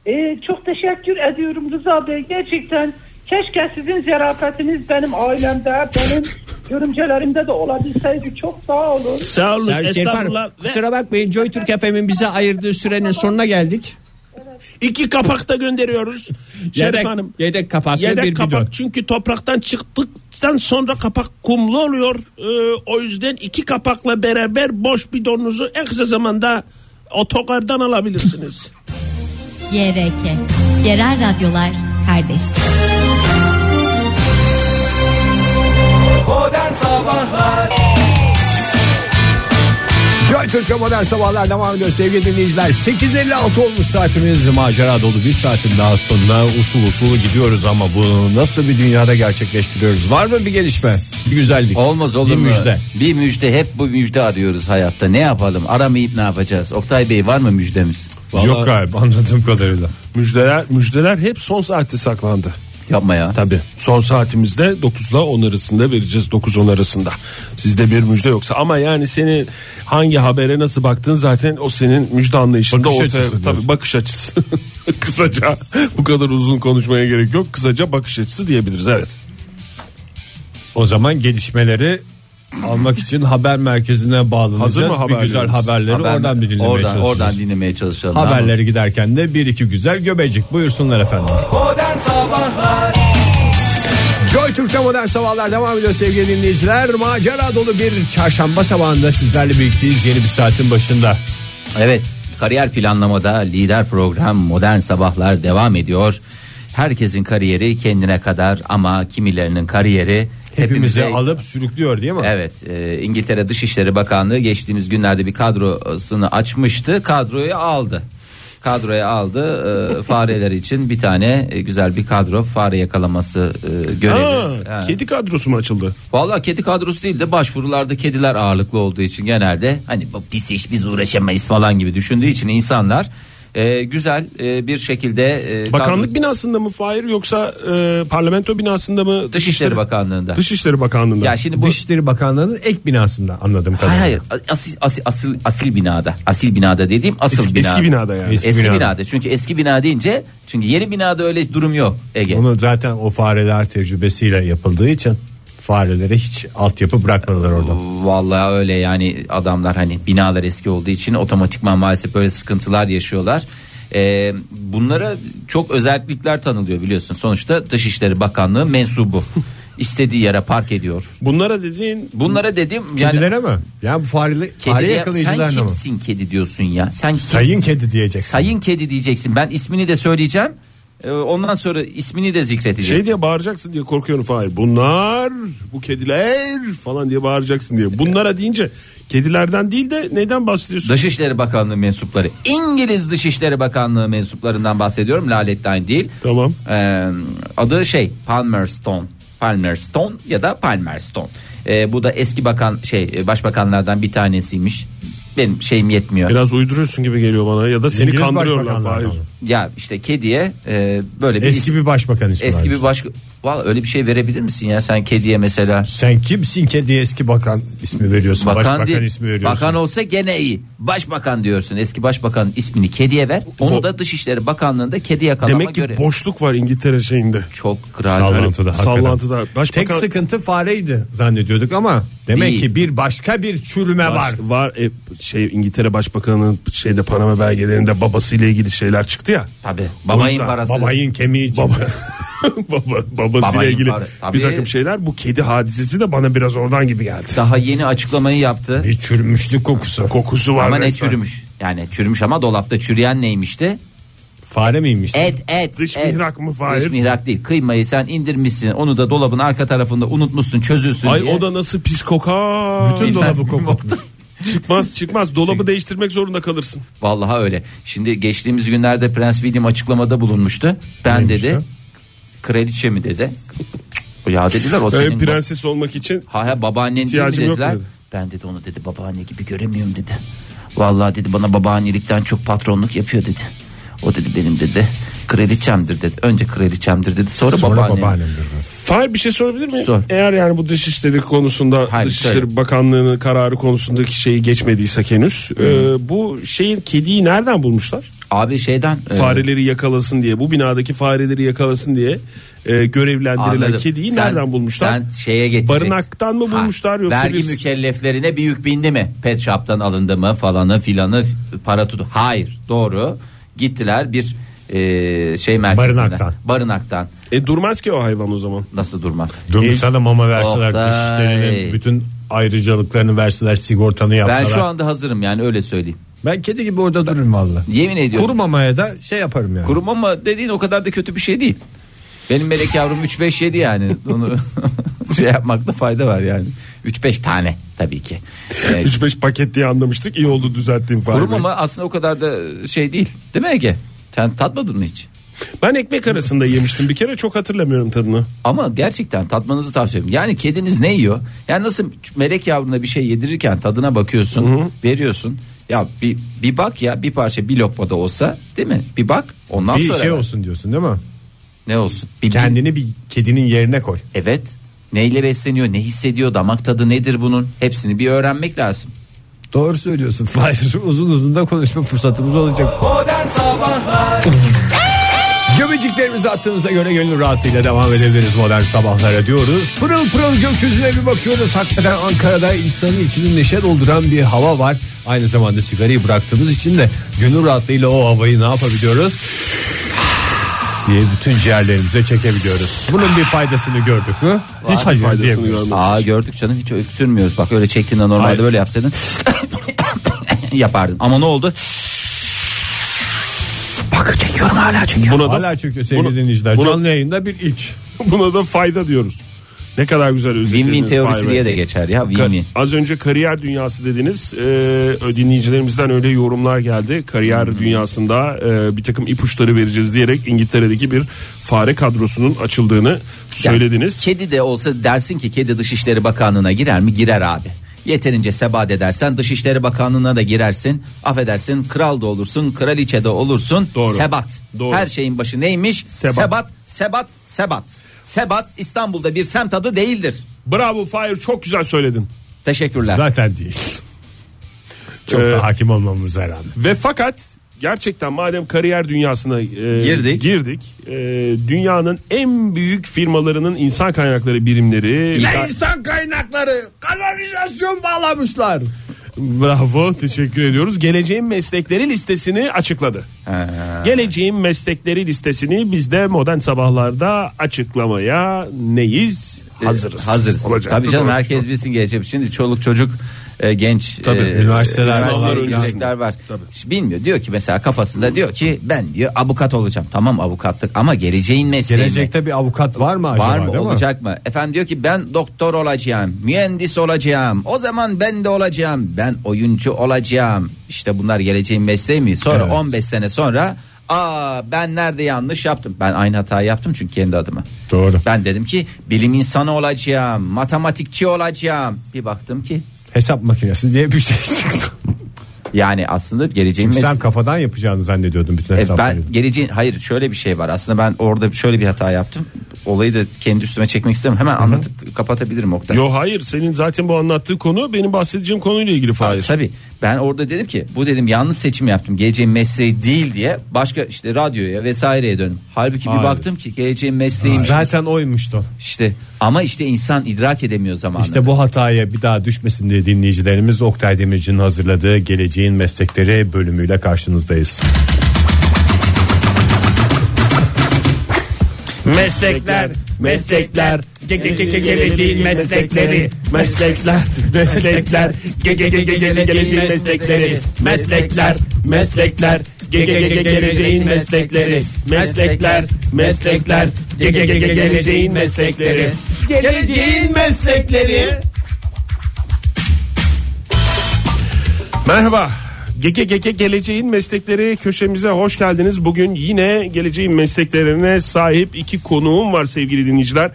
Speaker 7: Ee, çok teşekkür ediyorum Rıza Bey. Gerçekten keşke sizin zerafetiniz benim ailemde, benim görümcelerimde de olabilseydi. Çok sağ olun.
Speaker 6: Sağ olun.
Speaker 2: Servis Şerif Hanım,
Speaker 6: Estağfurullah. Ve
Speaker 2: Kusura bakmayın Joy Türk FM'in bize ayırdığı sürenin sonuna geldik.
Speaker 6: iki kapak da gönderiyoruz. Şerif
Speaker 2: Yedek,
Speaker 6: Hanım.
Speaker 2: yedek kapaklı bir
Speaker 6: Yedek kapak
Speaker 2: bidon.
Speaker 6: çünkü topraktan çıktıktan sonra kapak kumlu oluyor. Ee, o yüzden iki kapakla beraber boş bidonunuzu en kısa zamanda otogardan alabilirsiniz.
Speaker 5: YRK. Yerel radyolar kardeştir.
Speaker 2: Joy Türk'e modern sabahlar devam ediyor sevgili dinleyiciler. 8.56 olmuş saatimiz macera dolu bir saatin daha sonuna usul usul gidiyoruz ama bunu nasıl bir dünyada gerçekleştiriyoruz? Var mı bir gelişme? Bir güzellik.
Speaker 4: Olmaz olur
Speaker 2: bir
Speaker 4: mu?
Speaker 2: müjde.
Speaker 4: Bir müjde hep bu müjde arıyoruz hayatta. Ne yapalım? Aramayıp ne yapacağız? Oktay Bey var mı müjdemiz?
Speaker 3: Yok galiba.
Speaker 2: anladığım kadarıyla.
Speaker 3: Müjdeler, müjdeler hep son saatte saklandı.
Speaker 4: Yapma ya.
Speaker 8: Tabii. Son saatimizde 9 ile 10 arasında vereceğiz 9-10 arasında. Sizde bir müjde yoksa ama yani senin hangi habere nasıl baktın zaten o senin müjde anlayışında
Speaker 3: Bakış
Speaker 8: ortaya-
Speaker 3: açısı diyorsun.
Speaker 8: tabii bakış açısı. kısaca bu kadar uzun konuşmaya gerek yok. Kısaca bakış açısı diyebiliriz evet.
Speaker 2: O zaman gelişmeleri almak için haber merkezine bağlanacağız.
Speaker 8: Hazır mı
Speaker 2: bir
Speaker 8: haberlerimiz?
Speaker 2: güzel haberleri
Speaker 4: Haber-
Speaker 2: oradan bir dinlemeye
Speaker 4: oradan,
Speaker 2: çalışıyoruz.
Speaker 4: oradan dinlemeye çalışalım.
Speaker 2: Haberleri giderken de bir iki güzel göbecik buyursunlar efendim. Joy Türk'te modern sabahlar devam ediyor sevgili dinleyiciler. Macera dolu bir çarşamba sabahında sizlerle birlikteyiz yeni bir saatin başında.
Speaker 4: Evet kariyer planlamada lider program modern sabahlar devam ediyor. Herkesin kariyeri kendine kadar ama kimilerinin kariyeri
Speaker 2: Hepimizi
Speaker 4: hepimize
Speaker 2: alıp sürüklüyor değil mi?
Speaker 4: Evet e, İngiltere Dışişleri Bakanlığı geçtiğimiz günlerde bir kadrosunu açmıştı kadroyu aldı. Kadroya aldı e, fareler için bir tane e, güzel bir kadro fare yakalaması e, görevi.
Speaker 3: Ha,
Speaker 4: Ha.
Speaker 3: Kedi kadrosu mu açıldı?
Speaker 4: Vallahi kedi kadrosu değil de başvurularda kediler ağırlıklı olduğu için genelde hani bu pis iş biz uğraşamayız falan gibi düşündüğü için insanlar e, güzel e, bir şekilde e,
Speaker 3: Bakanlık
Speaker 4: kadro-
Speaker 3: binasında mı Fahir yoksa e, parlamento binasında mı?
Speaker 4: Dışişleri Bakanlığı'nda.
Speaker 3: Dışişleri Bakanlığı'nda.
Speaker 4: ya şimdi bu
Speaker 2: Dışişleri Bakanlığı'nın ek binasında anladım kadarıyla.
Speaker 4: Hayır hayır asil, asil, asil, asil binada asil binada dediğim asıl
Speaker 3: Eski-
Speaker 4: binada.
Speaker 3: eski binada yani.
Speaker 4: Eski,
Speaker 2: Eski
Speaker 4: binada.
Speaker 2: binada.
Speaker 4: çünkü eski bina deyince çünkü yeni binada öyle durum yok Ege.
Speaker 2: Onu zaten o fareler tecrübesiyle yapıldığı için farelere hiç altyapı bırakmadılar orada.
Speaker 4: Vallahi öyle yani adamlar hani binalar eski olduğu için otomatikman maalesef böyle sıkıntılar yaşıyorlar. Ee, bunlara çok özellikler tanılıyor biliyorsun. Sonuçta Dışişleri Bakanlığı mensubu. İstediği yere park ediyor.
Speaker 3: Bunlara dediğin
Speaker 4: Bunlara dedim yani
Speaker 2: Kedilere mi? Yani bu fareli, fare
Speaker 4: kediye- sen
Speaker 2: yakalayıcılarına mı?
Speaker 4: kimsin kedi diyorsun ya? Sen kimsin?
Speaker 2: Sayın kedi diyeceksin.
Speaker 4: Sayın kedi diyeceksin. Ben ismini de söyleyeceğim. Ee, Ondan sonra ismini de
Speaker 3: şey
Speaker 4: zikredeceksin.
Speaker 3: diye bağıracaksın diye korkuyorum Fahir. Bunlar bu kediler falan diye bağıracaksın diye. Bunlara deyince kedilerden değil de neyden bahsediyorsun?
Speaker 4: Dışişleri Bakanlığı mensupları. İngiliz Dışişleri Bakanlığı mensuplarından bahsediyorum. Laletten değil.
Speaker 3: Tamam.
Speaker 4: Ee, adı şey Palmerston. Palmerston ya da Palmerston. Ee, bu da eski bakan şey e, başbakanlardan bir tanesiymiş. Benim şeyim yetmiyor.
Speaker 3: Biraz uyduruyorsun gibi geliyor bana ya da seni
Speaker 2: İngiliz
Speaker 3: kandırıyorlar Fahir.
Speaker 2: başbakanlardan.
Speaker 4: Ya işte kediye e, böyle bir
Speaker 2: Eski
Speaker 4: is-
Speaker 2: bir başbakan ismi
Speaker 4: eski bir
Speaker 2: varmış.
Speaker 4: baş Vallahi öyle bir şey verebilir misin ya sen kediye mesela?
Speaker 2: Sen kimsin ki diye eski bakan ismi veriyorsun. başbakan
Speaker 4: değil,
Speaker 2: ismi veriyorsun.
Speaker 4: Bakan olsa gene iyi. Başbakan diyorsun. Eski başbakanın ismini kediye ver. Onu
Speaker 3: O-
Speaker 4: da Dışişleri Bakanlığı'nda kedi yakalama
Speaker 3: Demek ki
Speaker 4: görevi.
Speaker 3: boşluk var İngiltere şeyinde.
Speaker 4: Çok kral.
Speaker 2: Sallantıda. hakikaten.
Speaker 3: Sallantıda. Başbakan
Speaker 2: Tek sıkıntı fareydi zannediyorduk ama demek
Speaker 4: Değil.
Speaker 2: ki bir başka bir çürüme var.
Speaker 3: var. Var e, şey İngiltere Başbakanı'nın şeyde Panama belgelerinde babasıyla ilgili şeyler çıktı ya.
Speaker 4: Tabii. Babayın
Speaker 3: Oysa
Speaker 4: parası.
Speaker 2: Babayın kemiği için.
Speaker 3: Baba, baba babasıyla
Speaker 4: Babayın
Speaker 3: ilgili
Speaker 4: para-
Speaker 3: bir
Speaker 4: tabii.
Speaker 3: takım şeyler. Bu kedi hadisesi de bana biraz oradan gibi geldi.
Speaker 4: Daha yeni açıklamayı yaptı.
Speaker 2: Bir çürümüşlük kokusu.
Speaker 3: Kokusu var
Speaker 4: Ama ne
Speaker 3: resmen.
Speaker 4: çürümüş. Yani çürümüş ama dolapta çürüyen neymişti?
Speaker 2: Fare miymiş?
Speaker 4: Et et.
Speaker 3: Dış
Speaker 4: et.
Speaker 3: mihrak mı Fahir?
Speaker 4: Dış mihrak değil. Kıymayı sen indirmişsin. Onu da dolabın arka tarafında unutmuşsun çözülsün
Speaker 3: Ay
Speaker 4: diye.
Speaker 3: o da nasıl pis kokar.
Speaker 2: Bütün dolabı kokutmuş.
Speaker 3: Çıkmaz çıkmaz dolabı değiştirmek zorunda kalırsın.
Speaker 4: Vallahi öyle. Şimdi geçtiğimiz günlerde Prens William açıklamada bulunmuştu. Ben
Speaker 2: Neymiş
Speaker 4: dedi
Speaker 2: o?
Speaker 4: kraliçe mi dedi. Ya dediler o senin
Speaker 3: Ee, prenses olmak için
Speaker 4: Ha ha babaannen değil mi
Speaker 3: İhtiyacım yok
Speaker 4: dediler.
Speaker 3: dedi.
Speaker 4: Ben dedi onu dedi babaanne gibi göremiyorum dedi. Vallahi dedi bana babaannelikten çok patronluk yapıyor dedi. O dedi benim dedi kraliçemdir dedi. Önce kraliçemdir dedi sonra,
Speaker 2: Sonra
Speaker 4: babaannem.
Speaker 2: babaannemdir.
Speaker 3: Fahir bir şey sorabilir miyim?
Speaker 4: Sor.
Speaker 3: Eğer yani bu dışişleri konusunda
Speaker 4: Hayır,
Speaker 3: dışişleri
Speaker 4: söyle.
Speaker 3: bakanlığının kararı konusundaki şeyi geçmediysek henüz e, bu şeyin kediyi nereden bulmuşlar?
Speaker 4: Abi şeyden e,
Speaker 3: Fareleri yakalasın diye bu binadaki fareleri yakalasın diye e, görevlendirilen
Speaker 4: anladım.
Speaker 3: kediyi
Speaker 4: Sen-
Speaker 3: nereden bulmuşlar?
Speaker 4: Sen şeye getireceksin.
Speaker 3: Barınaktan mı bulmuşlar yoksa
Speaker 4: Vergi
Speaker 3: bir-
Speaker 4: mükelleflerine bir yük bindi mi? Pet shop'tan alındı mı falanı filanı f- para tutu. Hayır doğru. Gittiler bir e, şey merkezine.
Speaker 2: Barınaktan.
Speaker 4: Barınaktan.
Speaker 3: E durmaz ki o hayvan o zaman.
Speaker 4: Nasıl durmaz?
Speaker 2: Durmuşsa da mama verseler,
Speaker 4: Oktay.
Speaker 2: dişlerinin bütün ayrıcalıklarını verseler, sigortanı
Speaker 4: Ben
Speaker 2: yapsalar.
Speaker 4: şu anda hazırım yani öyle söyleyeyim.
Speaker 2: Ben kedi gibi orada dururum valla.
Speaker 4: Yemin ediyorum.
Speaker 2: Kurumamaya da şey yaparım yani.
Speaker 4: Kurum ama dediğin o kadar da kötü bir şey değil. Benim melek yavrum 3-5 yedi yani. Onu şey yapmakta fayda var yani. 3-5 tane tabii ki. Ee,
Speaker 3: 3-5 paket diye anlamıştık. İyi oldu düzelttiğin Fahir.
Speaker 4: kurum
Speaker 3: Bey.
Speaker 4: ama aslında o kadar da şey değil. Değil mi Ege? Sen tatmadın mı hiç?
Speaker 3: Ben ekmek arasında yemiştim bir kere çok hatırlamıyorum tadını.
Speaker 4: Ama gerçekten tatmanızı tavsiye ederim. Yani kediniz ne yiyor? Yani nasıl melek yavruna bir şey yedirirken tadına bakıyorsun, veriyorsun. Ya bir, bir bak ya bir parça bir lokma da olsa değil mi? Bir bak ondan
Speaker 2: Bir
Speaker 4: sonra.
Speaker 2: şey
Speaker 4: ver.
Speaker 2: olsun diyorsun değil mi?
Speaker 4: Ne olsun? Bir-
Speaker 2: Kendini bir kedinin yerine koy.
Speaker 4: Evet. Neyle besleniyor? Ne hissediyor? Damak tadı nedir bunun? Hepsini bir öğrenmek lazım.
Speaker 2: Doğru söylüyorsun. Fahir uzun uzun da konuşma fırsatımız olacak. Göbeciklerimizi attığınıza göre gönül rahatlığıyla devam edebiliriz modern sabahlara diyoruz. Pırıl pırıl gökyüzüne bir bakıyoruz. Hakikaten Ankara'da insanın içini neşe dolduran bir hava var. Aynı zamanda sigarayı bıraktığımız için de gönül rahatlığıyla o havayı ne yapabiliyoruz? diye bütün ciğerlerimize çekebiliyoruz. Bunun bir faydasını gördük mü? Hiç hayır
Speaker 3: faydasını
Speaker 2: diyemiyoruz.
Speaker 3: görmedim.
Speaker 4: Aa gördük canım hiç öksürmüyoruz. Bak öyle çektiğinde normalde
Speaker 3: Hayır.
Speaker 4: böyle yapsaydın yapardın. Ama ne oldu? Bak çekiyorum hala çekiyorum.
Speaker 3: Buna da,
Speaker 2: Hala çünkü sevgili dinleyiciler
Speaker 3: bunu-
Speaker 2: canlı yayında bir ilk.
Speaker 3: buna da fayda diyoruz. Ne kadar güzel özetlediniz.
Speaker 4: Win-win teorisi
Speaker 3: Fahir Bey.
Speaker 4: diye de geçer ya
Speaker 3: Ka-
Speaker 4: win-win.
Speaker 3: Az önce kariyer dünyası dediniz. Ee, dinleyicilerimizden öyle yorumlar geldi. Kariyer dünyasında e, bir takım ipuçları vereceğiz diyerek İngiltere'deki bir fare kadrosunun açıldığını söylediniz.
Speaker 4: Kedi de olsa dersin ki kedi Dışişleri Bakanlığı'na girer mi? Girer abi. Yeterince sebat edersen Dışişleri Bakanlığı'na da girersin. Affedersin kral da olursun, kraliçe de olursun.
Speaker 3: Doğru.
Speaker 4: Sebat.
Speaker 3: Doğru.
Speaker 4: Her şeyin başı neymiş?
Speaker 3: Sebat.
Speaker 4: sebat, sebat, sebat. Sebat İstanbul'da bir semt adı değildir.
Speaker 3: Bravo Fahir çok güzel söyledin.
Speaker 4: Teşekkürler.
Speaker 2: Zaten değil. Çok
Speaker 3: Ee,
Speaker 2: da hakim olmamıza rağmen.
Speaker 3: Ve fakat gerçekten madem kariyer dünyasına e,
Speaker 4: Girdik.
Speaker 3: girdik, e, dünyanın en büyük firmalarının insan kaynakları birimleri
Speaker 2: insan kaynakları kanalizasyon bağlamışlar.
Speaker 3: Bravo teşekkür ediyoruz. Geleceğin meslekleri listesini açıkladı. Geleceğin meslekleri listesini biz de modern sabahlarda açıklamaya neyiz? Hazırız.
Speaker 4: Ee, Hazırız.
Speaker 3: Olacak.
Speaker 4: Tabii canım herkes bilsin gelecek. Şimdi çoluk çocuk e, genç
Speaker 2: Tabii,
Speaker 4: e,
Speaker 2: üniversiteler
Speaker 4: üniversite
Speaker 2: var,
Speaker 4: girecekler var. Hiç Bilmiyor diyor ki mesela kafasında diyor ki ben diyor avukat olacağım. Tamam avukatlık ama geleceğin mesleği mi?
Speaker 2: Gelecekte bir avukat var mı acaba?
Speaker 4: var mı
Speaker 2: değil mi?
Speaker 4: olacak mı? Efendim diyor ki ben doktor olacağım, mühendis olacağım. O zaman ben de olacağım. Ben oyuncu olacağım. İşte bunlar geleceğin mesleği mi? Sonra 15 sene sonra aa ben nerede yanlış yaptım? Ben aynı hatayı yaptım çünkü kendi adıma.
Speaker 2: Doğru.
Speaker 4: Ben dedim ki bilim insanı olacağım, matematikçi olacağım. Bir baktım ki
Speaker 2: Hesap makinesi diye bir şey çıktı.
Speaker 4: yani aslında geleceğin
Speaker 2: Çünkü
Speaker 4: mes-
Speaker 2: sen kafadan yapacağını zannediyordun bütün
Speaker 4: E,
Speaker 2: hesapları.
Speaker 4: ben geleceğin hayır şöyle bir şey var. Aslında ben orada şöyle bir hata yaptım. Olayı da kendi üstüme çekmek istemem. Hemen anlatıp kapatabilirim Oktay.
Speaker 3: Yo hayır senin zaten bu anlattığı konu benim bahsedeceğim konuyla ilgili
Speaker 4: Tabi
Speaker 3: Fahir.
Speaker 4: Tabii ben orada dedim ki bu dedim yanlış seçim yaptım. Geleceğin mesleği değil diye başka işte radyoya vesaireye döndüm. Halbuki bir baktım ki geleceğin mesleğiymiş.
Speaker 2: Zaten oymuştu.
Speaker 4: İşte ama işte insan idrak edemiyor zamanında.
Speaker 2: İşte bu hataya bir daha düşmesin diye dinleyicilerimiz Oktay Demirci'nin hazırladığı Geleceğin Meslekleri bölümüyle karşınızdayız.
Speaker 6: Meslekler, meslekler, ge- ge- ge- ge- geleceğin meslekleri, meslekler, meslekler, ge- ge- ge- ge- ge- geleceğin meslekleri, meslekler, meslekler, ge- ge- ge- ge- geleceğin meslekleri, meslekler, meslekler, ge- ge- ge- ge- geleceğin meslekleri. Geleceğin meslekleri.
Speaker 3: Merhaba. Geke geke geleceğin meslekleri köşemize hoş geldiniz. Bugün yine geleceğin mesleklerine sahip iki konuğum var sevgili dinleyiciler.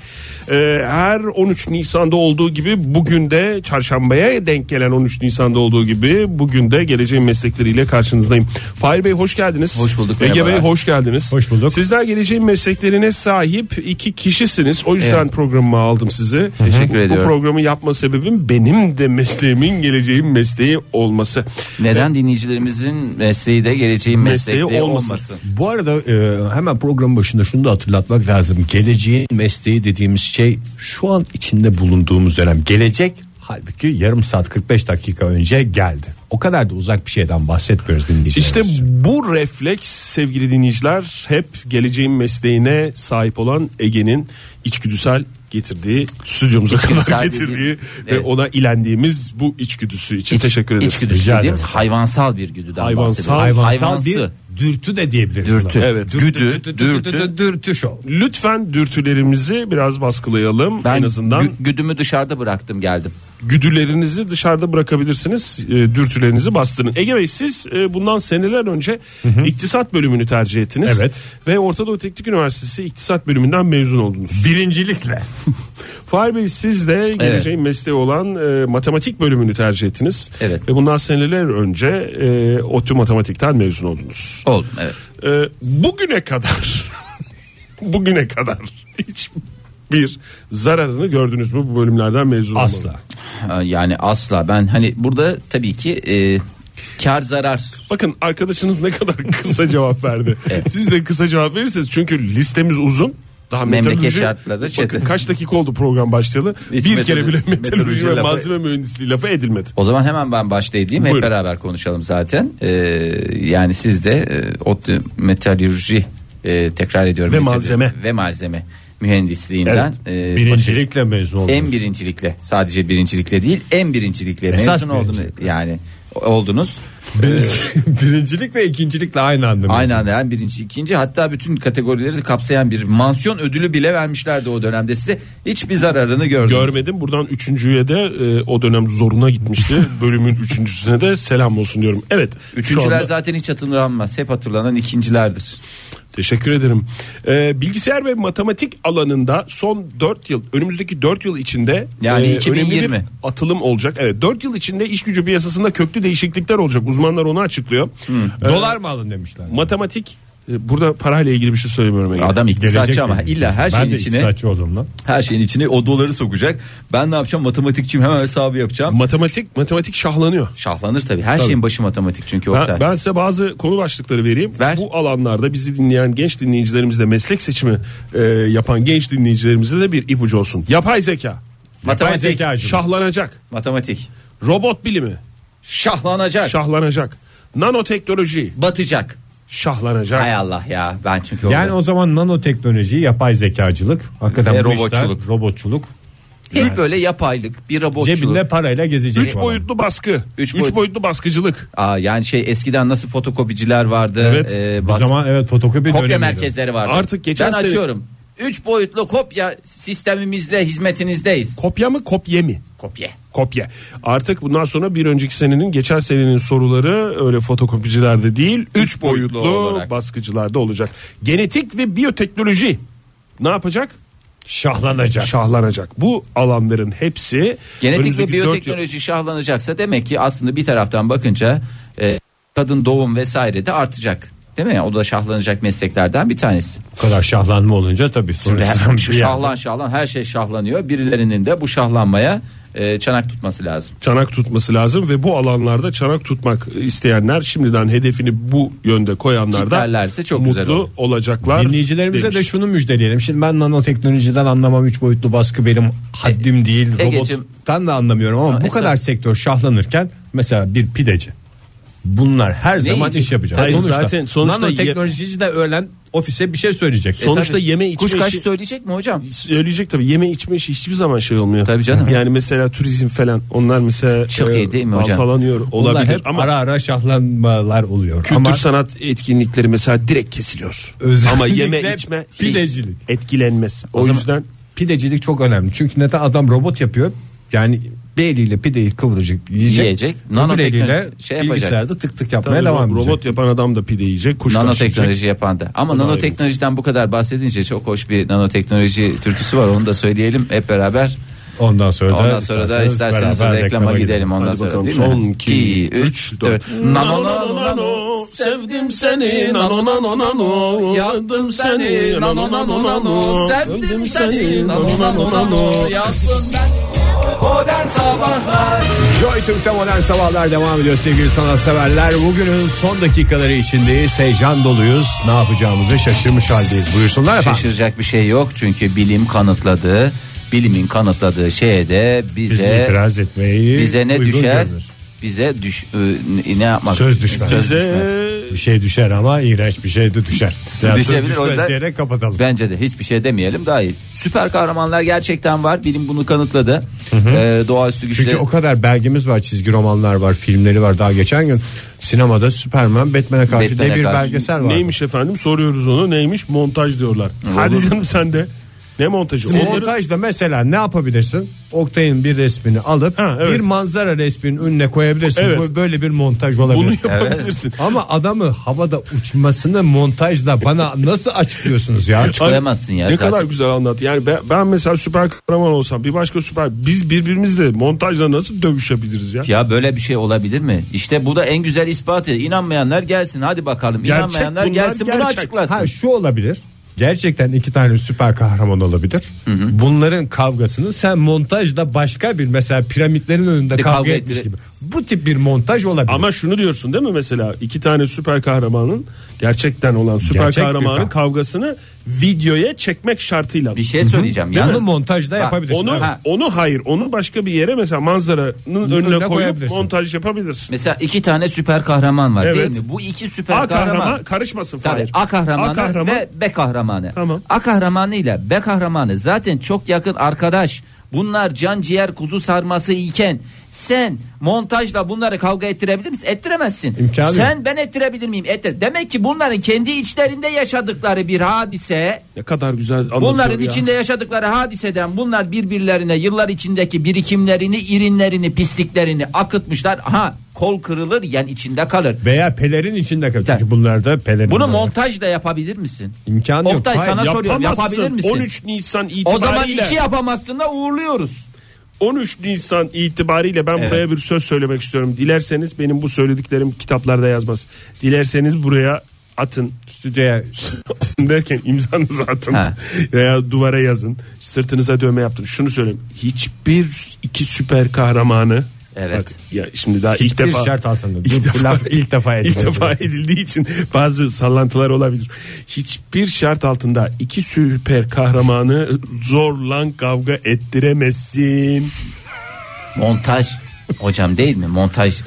Speaker 3: Ee, her 13 Nisan'da olduğu gibi bugün de çarşambaya denk gelen 13 Nisan'da olduğu gibi bugün de geleceğin meslekleriyle karşınızdayım. Fahir Bey hoş geldiniz.
Speaker 4: Hoş bulduk,
Speaker 3: Ege Bey
Speaker 4: merhabalar.
Speaker 3: hoş geldiniz.
Speaker 2: Hoş bulduk.
Speaker 3: Sizler geleceğin mesleklerine sahip iki kişisiniz. O yüzden programıma aldım sizi.
Speaker 4: Teşekkür
Speaker 3: bu,
Speaker 4: ediyorum.
Speaker 3: Bu programı yapma sebebim benim de mesleğimin geleceğin mesleği olması.
Speaker 4: Neden dinleyicilerimizin mesleği de geleceğin
Speaker 3: Mesleği
Speaker 4: mesleği,
Speaker 3: olmasın.
Speaker 4: olmasın.
Speaker 2: Bu arada e, hemen program başında şunu da hatırlatmak lazım. Geleceğin mesleği dediğimiz şey şu an içinde bulunduğumuz dönem. Gelecek halbuki yarım saat 45 dakika önce geldi. O kadar da uzak bir şeyden bahsetmiyoruz dinleyicilerimiz.
Speaker 3: İşte
Speaker 2: için.
Speaker 3: bu refleks sevgili dinleyiciler hep geleceğin mesleğine sahip olan Ege'nin içgüdüsel getirdiği stüdyomuza kadar
Speaker 4: İçgüdüsel
Speaker 3: getirdiği
Speaker 4: dediği-
Speaker 3: ve
Speaker 4: Evet.
Speaker 3: ona ilendiğimiz bu içgüdüsü için
Speaker 4: İç-
Speaker 3: teşekkür ederiz.
Speaker 4: içgüdüsü
Speaker 3: Rica
Speaker 4: dediğimiz
Speaker 3: ederim.
Speaker 4: hayvansal bir güdüden
Speaker 3: Hayvansal-
Speaker 4: bahsediyoruz.
Speaker 2: hayvansal
Speaker 4: Hayvansı.
Speaker 2: bir dürtü de diyebiliriz. buna.
Speaker 4: Dürtü.
Speaker 3: Evet.
Speaker 4: Güdü,
Speaker 2: Dürtü, dürtü,
Speaker 4: dürtü.
Speaker 2: dürtü, dürtü şov.
Speaker 3: Lütfen dürtülerimizi biraz baskılayalım
Speaker 4: Ben
Speaker 3: en azından.
Speaker 4: gü- güdümü dışarıda bıraktım geldim.
Speaker 3: güdülerinizi dışarıda bırakabilirsiniz. e, dürtülerinizi bastırın. Ege Bey siz e, bundan seneler önce iktisat bölümünü tercih ettiniz.
Speaker 2: Evet.
Speaker 3: Ve Orta Doğu Teknik Üniversitesi iktisat bölümünden mezun oldunuz.
Speaker 2: Birincilikle.
Speaker 3: Fahir Bey siz de geleceğin mesleği olan e, matematik bölümünü tercih ettiniz.
Speaker 4: Evet.
Speaker 3: Ve bundan seneler önce e, ODTÜ matematikten mezun oldunuz.
Speaker 4: Oldum evet.
Speaker 3: E, bugüne E, kadar bugüne kadar hiçbir zararını gördünüz mü bu bölümlerden mezun olmanın?
Speaker 8: Asla.
Speaker 4: Ha, Yani asla ben hani burada tabii ki e, kar zarar
Speaker 3: Bakın arkadaşınız ne kadar kısa cevap verdi. Siz de kısa cevap verirseniz çünkü listemiz uzun. Daha
Speaker 4: Memleket
Speaker 3: metalürji-
Speaker 4: şartları
Speaker 3: Bakın
Speaker 4: çetin.
Speaker 3: kaç dakika oldu program başlayalı.
Speaker 4: Hiç
Speaker 3: bir
Speaker 4: metal-
Speaker 3: kere bile
Speaker 4: metalürji
Speaker 3: metalürji ve
Speaker 4: lafı-
Speaker 3: malzeme mühendisliği lafı edilmedi.
Speaker 4: O zaman hemen ben başlayayım. Hep
Speaker 3: Buyurun.
Speaker 4: beraber konuşalım zaten. Ee, yani siz de e, ODTÜ metalürji e, tekrar ediyorum.
Speaker 3: Ve
Speaker 4: Metal-
Speaker 3: malzeme.
Speaker 4: Ve malzeme mühendisliğinden. e,
Speaker 2: Birincilikle mezun oldunuz.
Speaker 4: en birincilikle sadece birincilikle değil en birincilikle
Speaker 2: Esas
Speaker 4: mezun oldunuz.
Speaker 2: birincilikle.
Speaker 4: Yani oldunuz.
Speaker 2: Birinci- birincilik ve ikincilikle aynı anda. mezun.
Speaker 4: Aynı anda hem birinci ikinci hatta bütün kategorileri kapsayan bir mansiyon ödülü bile vermişlerdi o dönemde size. Hiçbir zararını gördüm.
Speaker 3: Görmedim. Buradan üçüncüye de e, o dönem zoruna gitmişti. Bölümün üçüncüsüne de selam olsun diyorum. Evet. şu
Speaker 4: Üçüncüler
Speaker 3: anda-
Speaker 4: zaten hiç hatırlanmaz. Hep hatırlanan ikincilerdir.
Speaker 3: Teşekkür ederim. Ee, bilgisayar ve matematik alanında son 4 yıl, önümüzdeki 4 yıl içinde e,
Speaker 4: Yani
Speaker 3: önemli
Speaker 4: 2020.
Speaker 3: bir atılım olacak. Evet, 4 yıl içinde iş gücü piyasasında köklü değişiklikler olacak. Uzmanlar onu açıklıyor.
Speaker 2: Dolar mı alın demişler.
Speaker 3: Matematik e, burada parayla ilgili bir şey söylemiyorum. Ege.
Speaker 4: Adam iktisatçı
Speaker 2: Gelecek
Speaker 4: ama
Speaker 2: mi?
Speaker 4: illa her
Speaker 2: ben
Speaker 4: şeyin
Speaker 2: de
Speaker 4: içine
Speaker 2: iktisatçı oldum lan.
Speaker 4: her şeyin içine o doları sokacak. Ben ne yapacağım? Matematikçiyim hemen hesabı yapacağım.
Speaker 3: matematik matematik şahlanıyor.
Speaker 4: Şahlanır tabii. Her şeyin başı matematik çünkü
Speaker 3: Ben,
Speaker 4: Oktay.
Speaker 3: ben size bazı konu başlıkları vereyim.
Speaker 4: Ver.
Speaker 3: Bu alanlarda bizi dinleyen genç dinleyicilerimizle meslek seçimi e, yapan genç dinleyicilerimize de bir ipucu olsun. Yapay zeka
Speaker 4: matematik.
Speaker 2: zekacı.
Speaker 3: şahlanacak.
Speaker 4: Matematik.
Speaker 3: Robot bilimi
Speaker 4: Şahlanacak.
Speaker 3: şahlanacak. Nanoteknoloji
Speaker 4: batacak.
Speaker 3: şahlanacak.
Speaker 4: Hay Allah ya. Ben çünkü orada
Speaker 2: Yani o zaman nanoteknoloji, yapay zekacılık, hakikaten
Speaker 4: Ve
Speaker 2: bu işler,
Speaker 4: robotçuluk.
Speaker 2: robotçuluk.
Speaker 4: hep böyle yapaylık bir robotçuluk.
Speaker 2: Cebinde parayla gezecek.
Speaker 3: Üç
Speaker 2: falan.
Speaker 3: boyutlu baskı.
Speaker 4: Üç
Speaker 3: Üç,
Speaker 4: boyut-
Speaker 3: boyutlu baskıcılık.
Speaker 4: Aa, yani şey eskiden nasıl fotokopiciler vardı.
Speaker 3: Evet.
Speaker 4: e,
Speaker 2: Bu
Speaker 4: bas-
Speaker 2: zaman evet fotokopi
Speaker 4: kopya
Speaker 2: dönemiydi.
Speaker 4: merkezleri vardı.
Speaker 3: Artık geçen
Speaker 4: ben
Speaker 3: sene-
Speaker 4: açıyorum. 3 boyutlu kopya sistemimizle hizmetinizdeyiz.
Speaker 3: Kopya mı kopye mi?
Speaker 4: Kopya.
Speaker 3: Kopya. Artık bundan sonra bir önceki senenin geçen senenin soruları öyle fotokopicilerde değil. Üç boyutlu,
Speaker 4: boyutlu olarak.
Speaker 3: baskıcılarda olacak. Genetik ve biyoteknoloji ne yapacak?
Speaker 2: Şahlanacak.
Speaker 3: Şahlanacak. Bu alanların hepsi
Speaker 4: Genetik ve
Speaker 3: önümüzdeki dört yıl-
Speaker 4: biyoteknoloji şahlanacaksa demek ki aslında bir taraftan bakınca e, kadın doğum vesaire de artacak. Değil mi? O da şahlanacak mesleklerden bir tanesi.
Speaker 2: Bu kadar şahlanma olunca tabii
Speaker 4: Ve
Speaker 2: sonrasında
Speaker 4: Şu
Speaker 2: bir yer-
Speaker 4: şahlan şahlan her şey şahlanıyor. Birilerinin de bu şahlanmaya e, çanak tutması lazım.
Speaker 3: çanak tutması lazım ve bu alanlarda çanak tutmak isteyenler şimdiden hedefini bu yönde koyanlar da
Speaker 4: Kitlerlerse çok
Speaker 3: mutlu
Speaker 4: güzel olur.
Speaker 3: olacaklar.
Speaker 2: Dinleyicilerimize
Speaker 3: demiş.
Speaker 2: de şunu müjdeleyelim. Şimdi ben nanoteknolojiden anlamam. Üç boyutlu baskı benim haddim değil.
Speaker 4: Egeciğim.
Speaker 2: Robottan da anlamıyorum ama bu
Speaker 4: Esra.
Speaker 2: kadar sektör şahlanırken mesela bir pideci. Bunlar her zaman
Speaker 4: yiyecek?
Speaker 2: iş yapacak.
Speaker 3: Hayır, zaten sonuçta
Speaker 2: nanoteknolojici de öğlen ofise bir şey söyleyecek.
Speaker 3: Sonuçta
Speaker 4: E, Tabii.
Speaker 3: yeme içme
Speaker 4: Kuş kaç
Speaker 3: işi-
Speaker 4: söyleyecek mi hocam?
Speaker 3: söyleyecek tabii yeme içme işi hiçbir zaman şey olmuyor.
Speaker 4: Tabii canım.
Speaker 3: Yani mesela turizm falan onlar mesela
Speaker 4: Çok iyi değil mi hocam?
Speaker 3: baltalanıyor
Speaker 2: Bunlar
Speaker 3: olabilir
Speaker 2: hep
Speaker 3: ama
Speaker 2: ara ara şahlanmalar oluyor.
Speaker 3: kültür
Speaker 2: ama
Speaker 3: sanat etkinlikleri mesela direkt kesiliyor.
Speaker 2: Özellikle
Speaker 3: ama yeme içme hiç
Speaker 2: pidecilik.
Speaker 3: etkilenmez. O,
Speaker 4: zaman-
Speaker 3: yüzden
Speaker 2: pidecilik çok önemli. Çünkü neden adam robot yapıyor. Yani bir eliyle pideyi kıvıracak yiyecek.
Speaker 4: Yiyecek.
Speaker 2: Öbür
Speaker 4: Nanoteknoloji
Speaker 2: eliyle
Speaker 4: şey yapacak.
Speaker 2: bilgisayarda tık tık yapmaya
Speaker 3: tabii
Speaker 2: devam edecek.
Speaker 3: robot yapan adam da pide yiyecek, kuş kaç yiyecek.
Speaker 4: Nanoteknoloji yapan da. Ama nanoteknolojiden bu kadar bahsedince çok hoş bir nanoteknoloji türküsü var. Onu da söyleyelim hep beraber.
Speaker 2: Ondan sonra
Speaker 4: Ondan sonra da isterseniz
Speaker 2: beraber
Speaker 4: reklama gidelim. Ondan
Speaker 3: Hadi
Speaker 4: sonra
Speaker 3: bakalım.
Speaker 4: değil
Speaker 3: Son,
Speaker 4: mi?
Speaker 3: iki,
Speaker 4: 2,
Speaker 3: üç,
Speaker 4: 3, 4. Nano nano nano.
Speaker 3: sevdim seni nano nano nano
Speaker 4: Yaptım seni nano nano nano. Sevdim seni nano nano nano. Yaptım ben.
Speaker 2: Joy Türk'te modern sabahlar devam ediyor sevgili sanatseverler. Bugünün son dakikaları içindeyiz. Heyecan doluyuz. Ne yapacağımızı şaşırmış haldeyiz. Buyursunlar efendim.
Speaker 4: Şaşıracak bir şey yok çünkü bilim kanıtladı. Bilimin kanıtladığı şeye de
Speaker 2: Biz
Speaker 4: bize
Speaker 2: itiraz etmeyi
Speaker 4: bize ne
Speaker 2: uygun
Speaker 4: düşer?
Speaker 2: görünür.
Speaker 4: Bize düş e, ne- ne yapmak?
Speaker 2: Söz düşmez.
Speaker 4: düşmez.
Speaker 3: Bize
Speaker 2: Bir şey düşer ama iğrenç bir şey de düşer. Yani
Speaker 4: Düşebilir,
Speaker 2: düşmez
Speaker 4: o yüzden-
Speaker 2: diyerek kapatalım.
Speaker 4: Bence de hiçbir şey demeyelim daha iyi. Süper kahramanlar gerçekten var. Bilim bunu kanıtladı. Ee, doğaüstü güçleri.
Speaker 2: Çünkü o kadar belgemiz var, çizgi romanlar var, filmleri var. Daha geçen gün sinemada Superman Batman'e karşı
Speaker 4: Batman'e
Speaker 2: diye bir
Speaker 4: karşı.
Speaker 2: belgesel var.
Speaker 3: neymiş efendim soruyoruz onu neymiş montaj diyorlar. Hadi canım sen de. Ne montajı? Onları-
Speaker 2: Montajda mesela ne yapabilirsin? Oktay'ın bir resmini alıp
Speaker 3: Ha, evet.
Speaker 2: bir manzara resminin önüne koyabilirsin.
Speaker 3: Evet.
Speaker 2: Bu böyle bir montaj olabilir.
Speaker 3: Bunu yapabilirsin.
Speaker 2: Ama adamı havada uçmasını montajla bana nasıl açıklıyorsunuz ya?
Speaker 4: Açıklayamazsın ya
Speaker 3: Ne
Speaker 4: zaten.
Speaker 3: kadar güzel anlat. Yani ben, ben mesela süper kahraman olsam bir başka süper biz birbirimizle montajla nasıl dövüşebiliriz ya?
Speaker 4: Ya böyle bir şey olabilir mi? İşte bu da en güzel ispatı. İnanmayanlar gelsin hadi bakalım.
Speaker 3: Gerçek
Speaker 4: İnanmayanlar
Speaker 3: bunlar,
Speaker 4: gelsin bunu
Speaker 3: gerçek.
Speaker 4: açıklasın.
Speaker 2: Ha şu olabilir. gerçekten iki tane süper kahraman olabilir. Bunların kavgasını sen montajda başka bir mesela piramitlerin önünde
Speaker 4: Bir
Speaker 2: kavga,
Speaker 4: kavga
Speaker 2: etmiş
Speaker 4: ettire-
Speaker 2: gibi. Bu tip bir montaj olabilir.
Speaker 3: Ama şunu diyorsun değil mi mesela iki tane süper kahramanın gerçekten olan süper
Speaker 2: Gerçek bir
Speaker 3: kahramanın
Speaker 2: kahraman.
Speaker 3: kavgasını videoya çekmek şartıyla.
Speaker 4: Bir şey söyleyeceğim.
Speaker 2: bunu
Speaker 4: Yalnız
Speaker 2: montajda
Speaker 4: Bak,
Speaker 2: yapabilirsin.
Speaker 3: onu
Speaker 2: Evet.
Speaker 4: Ha.
Speaker 3: onu hayır onu başka bir yere mesela manzaranın önüne,
Speaker 2: önüne
Speaker 3: koyup
Speaker 2: koyabilirsin.
Speaker 3: montaj yapabilirsin.
Speaker 4: mesela iki tane süper kahraman var
Speaker 3: Evet.
Speaker 4: değil mi? Bu iki süper
Speaker 3: A kahraman,
Speaker 4: kahraman
Speaker 3: karışmasın
Speaker 4: Tabii
Speaker 3: Fahir.
Speaker 4: A kahramanı
Speaker 3: A kahraman-
Speaker 4: ve B kahramanı.
Speaker 3: Tamam.
Speaker 4: A kahramanı ile B kahramanı zaten çok yakın arkadaş. Bunlar can ciğer kuzu sarması iken sen montajla bunları kavga ettirebilir misin? Ettiremezsin.
Speaker 2: İmkanı
Speaker 4: sen ben ettirebilir miyim? Ettir. Demek ki bunların kendi içlerinde yaşadıkları bir hadise
Speaker 3: Ne kadar güzel anlatıyor
Speaker 4: Bunların
Speaker 3: ya.
Speaker 4: içinde yaşadıkları hadiseden bunlar birbirlerine yıllar içindeki birikimlerini, irinlerini, pisliklerini akıtmışlar. Ha kol kırılır yani içinde kalır.
Speaker 2: Veya pelerin içinde kalır.
Speaker 4: Tabii.
Speaker 2: Çünkü bunlar da pelerin.
Speaker 4: Bunu
Speaker 2: olarak.
Speaker 4: montajla yapabilir misin?
Speaker 2: İmkanı yok.
Speaker 4: Oktay,
Speaker 2: Hayır,
Speaker 4: sana
Speaker 2: yap-
Speaker 4: soruyorum
Speaker 3: Yapamazsın.
Speaker 4: yapabilir misin?
Speaker 3: 13 Nisan itibariyle.
Speaker 4: o zaman iki yapamazsın da uğurluyoruz.
Speaker 3: 13 Nisan itibariyle ben
Speaker 4: Evet.
Speaker 3: buraya bir söz söylemek istiyorum. Dilerseniz benim bu söylediklerim kitaplarda yazmaz. Dilerseniz buraya atın.
Speaker 2: stüdyoya
Speaker 3: derken imzanızı atın
Speaker 4: Ha.
Speaker 3: veya duvara yazın. Sırtınıza dövme yaptın. Şunu söyleyeyim. Hiçbir iki süper kahramanı
Speaker 4: Evet.
Speaker 3: Bak ya şimdi daha ilk
Speaker 2: hiçbir
Speaker 3: defa
Speaker 2: şart altında.
Speaker 3: İlk
Speaker 2: Bu
Speaker 3: defa-
Speaker 2: laf ilk defa
Speaker 3: ilk
Speaker 2: etmedi.
Speaker 3: defa edildiği için bazı sallantılar olabilir. Hiçbir şart altında iki süper kahramanı zorla kavga ettiremezsin.
Speaker 4: Montaj hocam değil mi? Montaj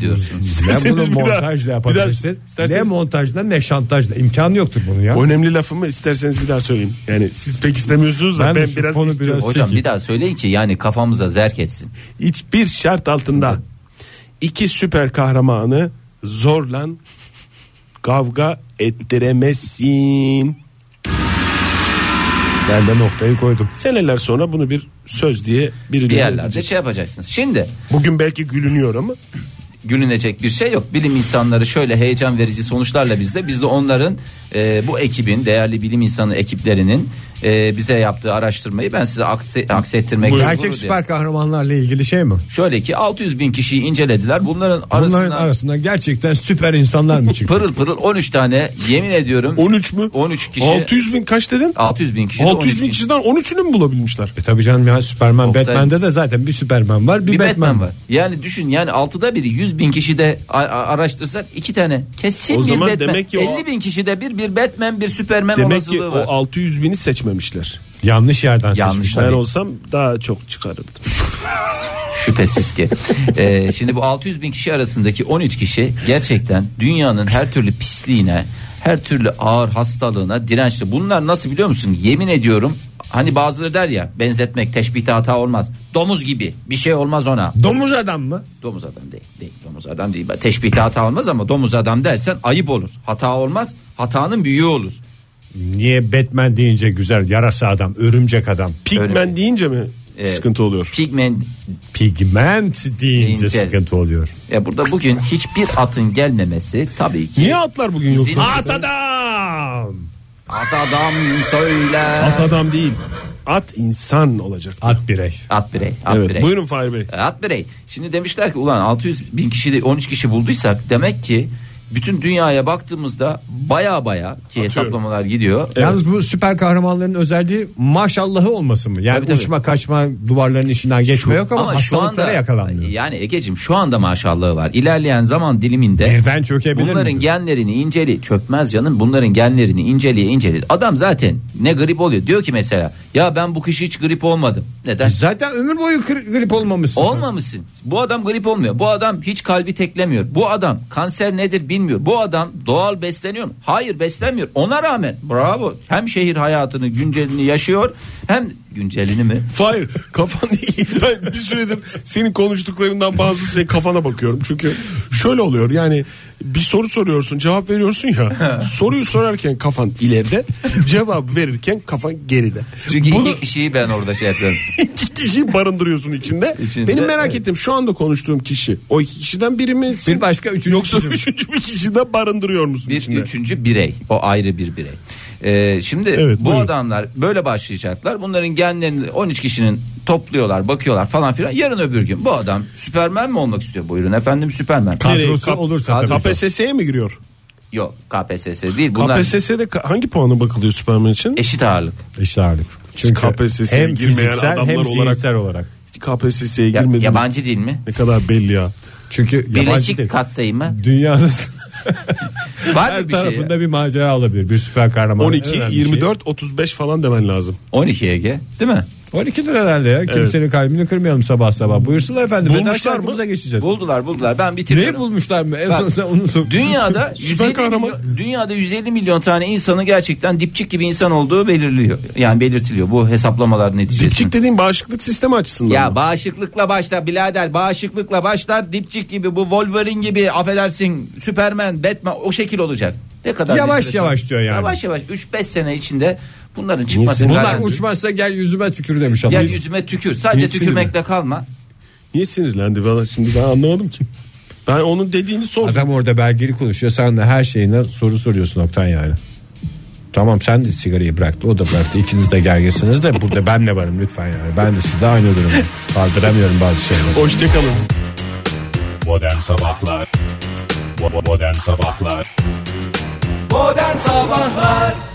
Speaker 4: diyorsun.
Speaker 2: Ben bunu
Speaker 3: İsterseniz bir daha-
Speaker 2: montajla
Speaker 3: bir daha
Speaker 2: yapabilirsin. Ne
Speaker 3: isterseniz-
Speaker 2: montajla ne şantajla. İmkanı yoktur bunun ya.
Speaker 3: O önemli lafımı isterseniz bir daha söyleyeyim. Yani siz pek istemiyorsunuz da
Speaker 2: Ben
Speaker 3: ben,
Speaker 2: de şu
Speaker 3: biraz
Speaker 2: konu
Speaker 3: istiyorum.
Speaker 2: biraz-
Speaker 4: Hocam bir daha söyleyin ki yani kafamıza zerk etsin.
Speaker 3: Hiçbir şart altında iki süper kahramanı zorla kavga ettiremezsin.
Speaker 2: Ben de noktayı koydum.
Speaker 3: Seneler sonra bunu bir söz diye birileri
Speaker 4: Bir yerlerde
Speaker 3: edecek.
Speaker 4: şey yapacaksınız. Şimdi
Speaker 3: Bugün belki gülünüyor ama
Speaker 4: gülünecek bir şey yok. Bilim insanları şöyle heyecan verici sonuçlarla bizde. Biz de onların e, bu ekibin değerli bilim insanı ekiplerinin e, bize yaptığı araştırmayı ben size akse, aksettirmek
Speaker 2: Gerçek süper kahramanlarla ilgili şey mi?
Speaker 4: Şöyle ki 600 bin kişiyi incelediler. Bunların
Speaker 2: Bunların
Speaker 4: arasından
Speaker 2: arasından gerçekten süper insanlar mı çıktı?
Speaker 4: pırıl pırıl 13 tane yemin ediyorum
Speaker 3: 13 mü?
Speaker 4: 13 kişi
Speaker 3: 600 bin kaç dedin?
Speaker 4: 600 bin kişi de 13
Speaker 3: 600 bin
Speaker 4: kişi.
Speaker 3: kişiden 13'ünü mü bulabilmişler?
Speaker 2: E tabii canım ya Superman
Speaker 4: Oktay-
Speaker 2: Batman'de de zaten bir Superman var bir,
Speaker 4: bir
Speaker 2: Batman,
Speaker 4: Batman
Speaker 2: var.
Speaker 4: var. Yani düşün yani altıda biri 100 bin kişi de a- a- araştırsak iki tane kesin
Speaker 3: O
Speaker 4: bir
Speaker 3: zaman
Speaker 4: Batman.
Speaker 3: demek ki o-
Speaker 4: 50 bin kişide bir bir Batman bir Superman
Speaker 3: Demek
Speaker 4: olasılığı
Speaker 3: ki
Speaker 4: var.
Speaker 3: o 600 bini seçmemişler.
Speaker 2: Yanlış yerden
Speaker 4: Yanlış.
Speaker 2: seçmişler.
Speaker 3: Ben
Speaker 4: Tabii.
Speaker 3: olsam daha çok çıkarırdım.
Speaker 4: Şüphesiz ki. Ee, şimdi bu 600 bin kişi arasındaki 13 kişi gerçekten dünyanın her türlü pisliğine, her türlü ağır hastalığına dirençli. Bunlar nasıl biliyor musun? Yemin ediyorum hani bazıları der ya benzetmek teşbihte hata olmaz. Domuz gibi bir şey olmaz ona.
Speaker 2: Domuz adam mı?
Speaker 4: Domuz adam değil. değil domuz adam değil. Teşbihte hata olmaz ama domuz adam dersen ayıp olur. Hata olmaz. Hatanın büyüğü olur.
Speaker 2: Niye Batman deyince güzel yarasa adam, örümcek adam,
Speaker 3: Pigmen deyince mi sıkıntı oluyor?
Speaker 4: Pigment
Speaker 2: pigment deyince
Speaker 4: Deyince.
Speaker 2: sıkıntı oluyor.
Speaker 4: ya e, burada bugün hiçbir atın gelmemesi tabii ki.
Speaker 3: Niye atlar bugün yok?
Speaker 4: Zin-
Speaker 2: At adam!
Speaker 4: At adam söyle.
Speaker 3: At adam değil. At insan olacak.
Speaker 2: At birey.
Speaker 4: At birey. At
Speaker 3: evet.
Speaker 4: birey.
Speaker 3: Buyurun Fahir Bey.
Speaker 4: At birey. Şimdi demişler ki ulan 600 bin kişi de 13 kişi bulduysak demek ki bütün dünyaya baktığımızda baya baya ki hesaplamalar gidiyor.
Speaker 2: Yalnız bu süper kahramanların özelliği maşallahı olması mı? Yani
Speaker 4: Tabii, tabii.
Speaker 2: uçma kaçma duvarların içinden geçme yok ama,
Speaker 4: şu
Speaker 2: hastalıklara
Speaker 4: anda
Speaker 2: yakalanmıyor.
Speaker 4: yani Egeciğim şu anda maşallahı var. İlerleyen zaman diliminde
Speaker 2: Birden çökebilir
Speaker 4: bunların
Speaker 2: mi?
Speaker 4: genlerini inceli çökmez canım. Bunların genlerini inceleye inceli. Adam zaten ne grip oluyor. Diyor ki mesela ya ben bu kış hiç grip olmadım. Neden?
Speaker 2: Zaten ömür boyu kri- grip olmamışsın. sen.
Speaker 4: Olmamışsın. Bu adam grip olmuyor. Bu adam hiç kalbi teklemiyor. Bu adam kanser nedir bilmiyor. Bu adam doğal besleniyor mu? Hayır beslenmiyor. Ona rağmen bravo. Hem şehir hayatını güncelini yaşıyor hem güncelini mi?
Speaker 3: Fahir kafan iyi. Ben bir süredir senin konuştuklarından bazı şey kafana bakıyorum. Çünkü şöyle oluyor yani bir soru soruyorsun cevap veriyorsun ya. soruyu sorarken kafan ileride cevap verirken kafan geride.
Speaker 4: Çünkü
Speaker 3: Bunu-
Speaker 4: iki kişiyi ben orada şey yapıyorum.
Speaker 3: iki kişiyi barındırıyorsun içinde.
Speaker 4: İçinde,
Speaker 3: Benim merak
Speaker 4: evet.
Speaker 3: ettiğim şu anda konuştuğum kişi o iki kişiden biri mi?
Speaker 2: Bir başka üçüncü
Speaker 3: Yoksa
Speaker 2: kişi mi?
Speaker 3: üçüncü bir kişi de barındırıyor musun
Speaker 4: Bir
Speaker 3: içinde?
Speaker 4: üçüncü birey. O ayrı bir birey. Ee, şimdi bu adamlar böyle başlayacaklar. Bunların genlerini 13 kişinin topluyorlar, bakıyorlar falan filan. Yarın öbür gün bu adam Süpermen mi olmak istiyor? Buyurun efendim Süpermen.
Speaker 2: Kadrosu
Speaker 3: Kap-
Speaker 2: olursa tabii.
Speaker 3: KPSS'ye mi giriyor?
Speaker 4: Yok KPSS değil. Bunlar
Speaker 3: KPSS'de ka- hangi puana bakılıyor Superman için?
Speaker 4: eşit ağırlık.
Speaker 2: İşte artık. Çünkü
Speaker 3: KPSS'ye
Speaker 2: hem
Speaker 3: girmeyen
Speaker 2: fiziksel
Speaker 3: adamlar
Speaker 2: hem
Speaker 3: olarak-
Speaker 2: zihinsel olarak.
Speaker 3: KPSS'ye
Speaker 4: Ya-
Speaker 3: girmediniz.
Speaker 4: yabancı değil mi?
Speaker 3: Ne kadar belli ya.
Speaker 2: Çünkü yabancı
Speaker 4: Birleşik
Speaker 2: değil.
Speaker 4: katsayı mı?
Speaker 2: Dünyanın
Speaker 4: Var
Speaker 2: her
Speaker 4: mı bir şey?
Speaker 2: tarafında bir macera olabilir. Bir şey. süper kahraman.
Speaker 3: 12,
Speaker 2: Önemli
Speaker 3: 24, 35 falan demen lazım.
Speaker 4: 12 Ege değil mi?
Speaker 2: Şey. 12'dir herhalde ya. Kimsenin kalbini kırmayalım sabah sabah. Buyursunlar efendim.
Speaker 3: Bulmuşlar
Speaker 2: Veda
Speaker 3: mı?
Speaker 2: şarkımıza geçeceğiz.
Speaker 4: Buldular buldular ben bitiriyorum.
Speaker 2: Neyi bulmuşlar mı? En
Speaker 4: Bak,
Speaker 2: son sen onu sor.
Speaker 4: Dünyada 150
Speaker 3: kahraman.
Speaker 4: milyon, dünyada 150 milyon tane insanı gerçekten dipçik gibi insan olduğu belirliyor. Yani belirtiliyor bu hesaplamalar neticesinde.
Speaker 3: Dipçik dediğin bağışıklık sistemi açısından.
Speaker 4: Ya
Speaker 3: mı?
Speaker 4: bağışıklıkla başlar birader bağışıklıkla başlar dipçik gibi bu Wolverine gibi affedersin Superman Batman o şekil olacak. Ne kadar
Speaker 2: Yavaş
Speaker 4: bir süre-
Speaker 2: yavaş diyor yani.
Speaker 4: Yavaş yavaş 3-5 sene içinde bunların çıkması
Speaker 2: Bunlar
Speaker 4: garanti.
Speaker 2: uçmazsa gel yüzüme tükür demiş adam.
Speaker 4: Gel yüzüme tükür. Sadece
Speaker 3: Niye
Speaker 4: tükürmekle kalma.
Speaker 3: Niye sinirlendi bana şimdi ben anlamadım ki. Ben onun dediğini sordum.
Speaker 2: Adam orada belgeli konuşuyor. Sen de her şeyine soru soruyorsun Oktay yani. Tamam sen de sigarayı bıraktı o da bıraktı ikiniz de gergesiniz de burada ben de varım lütfen yani ben de sizde aynı durum kaldıramıyorum bazı şeyleri.
Speaker 3: Hoşçakalın.
Speaker 1: Modern Sabahlar Bo- bo- Modern Sabahlar
Speaker 9: Modern Sabahlar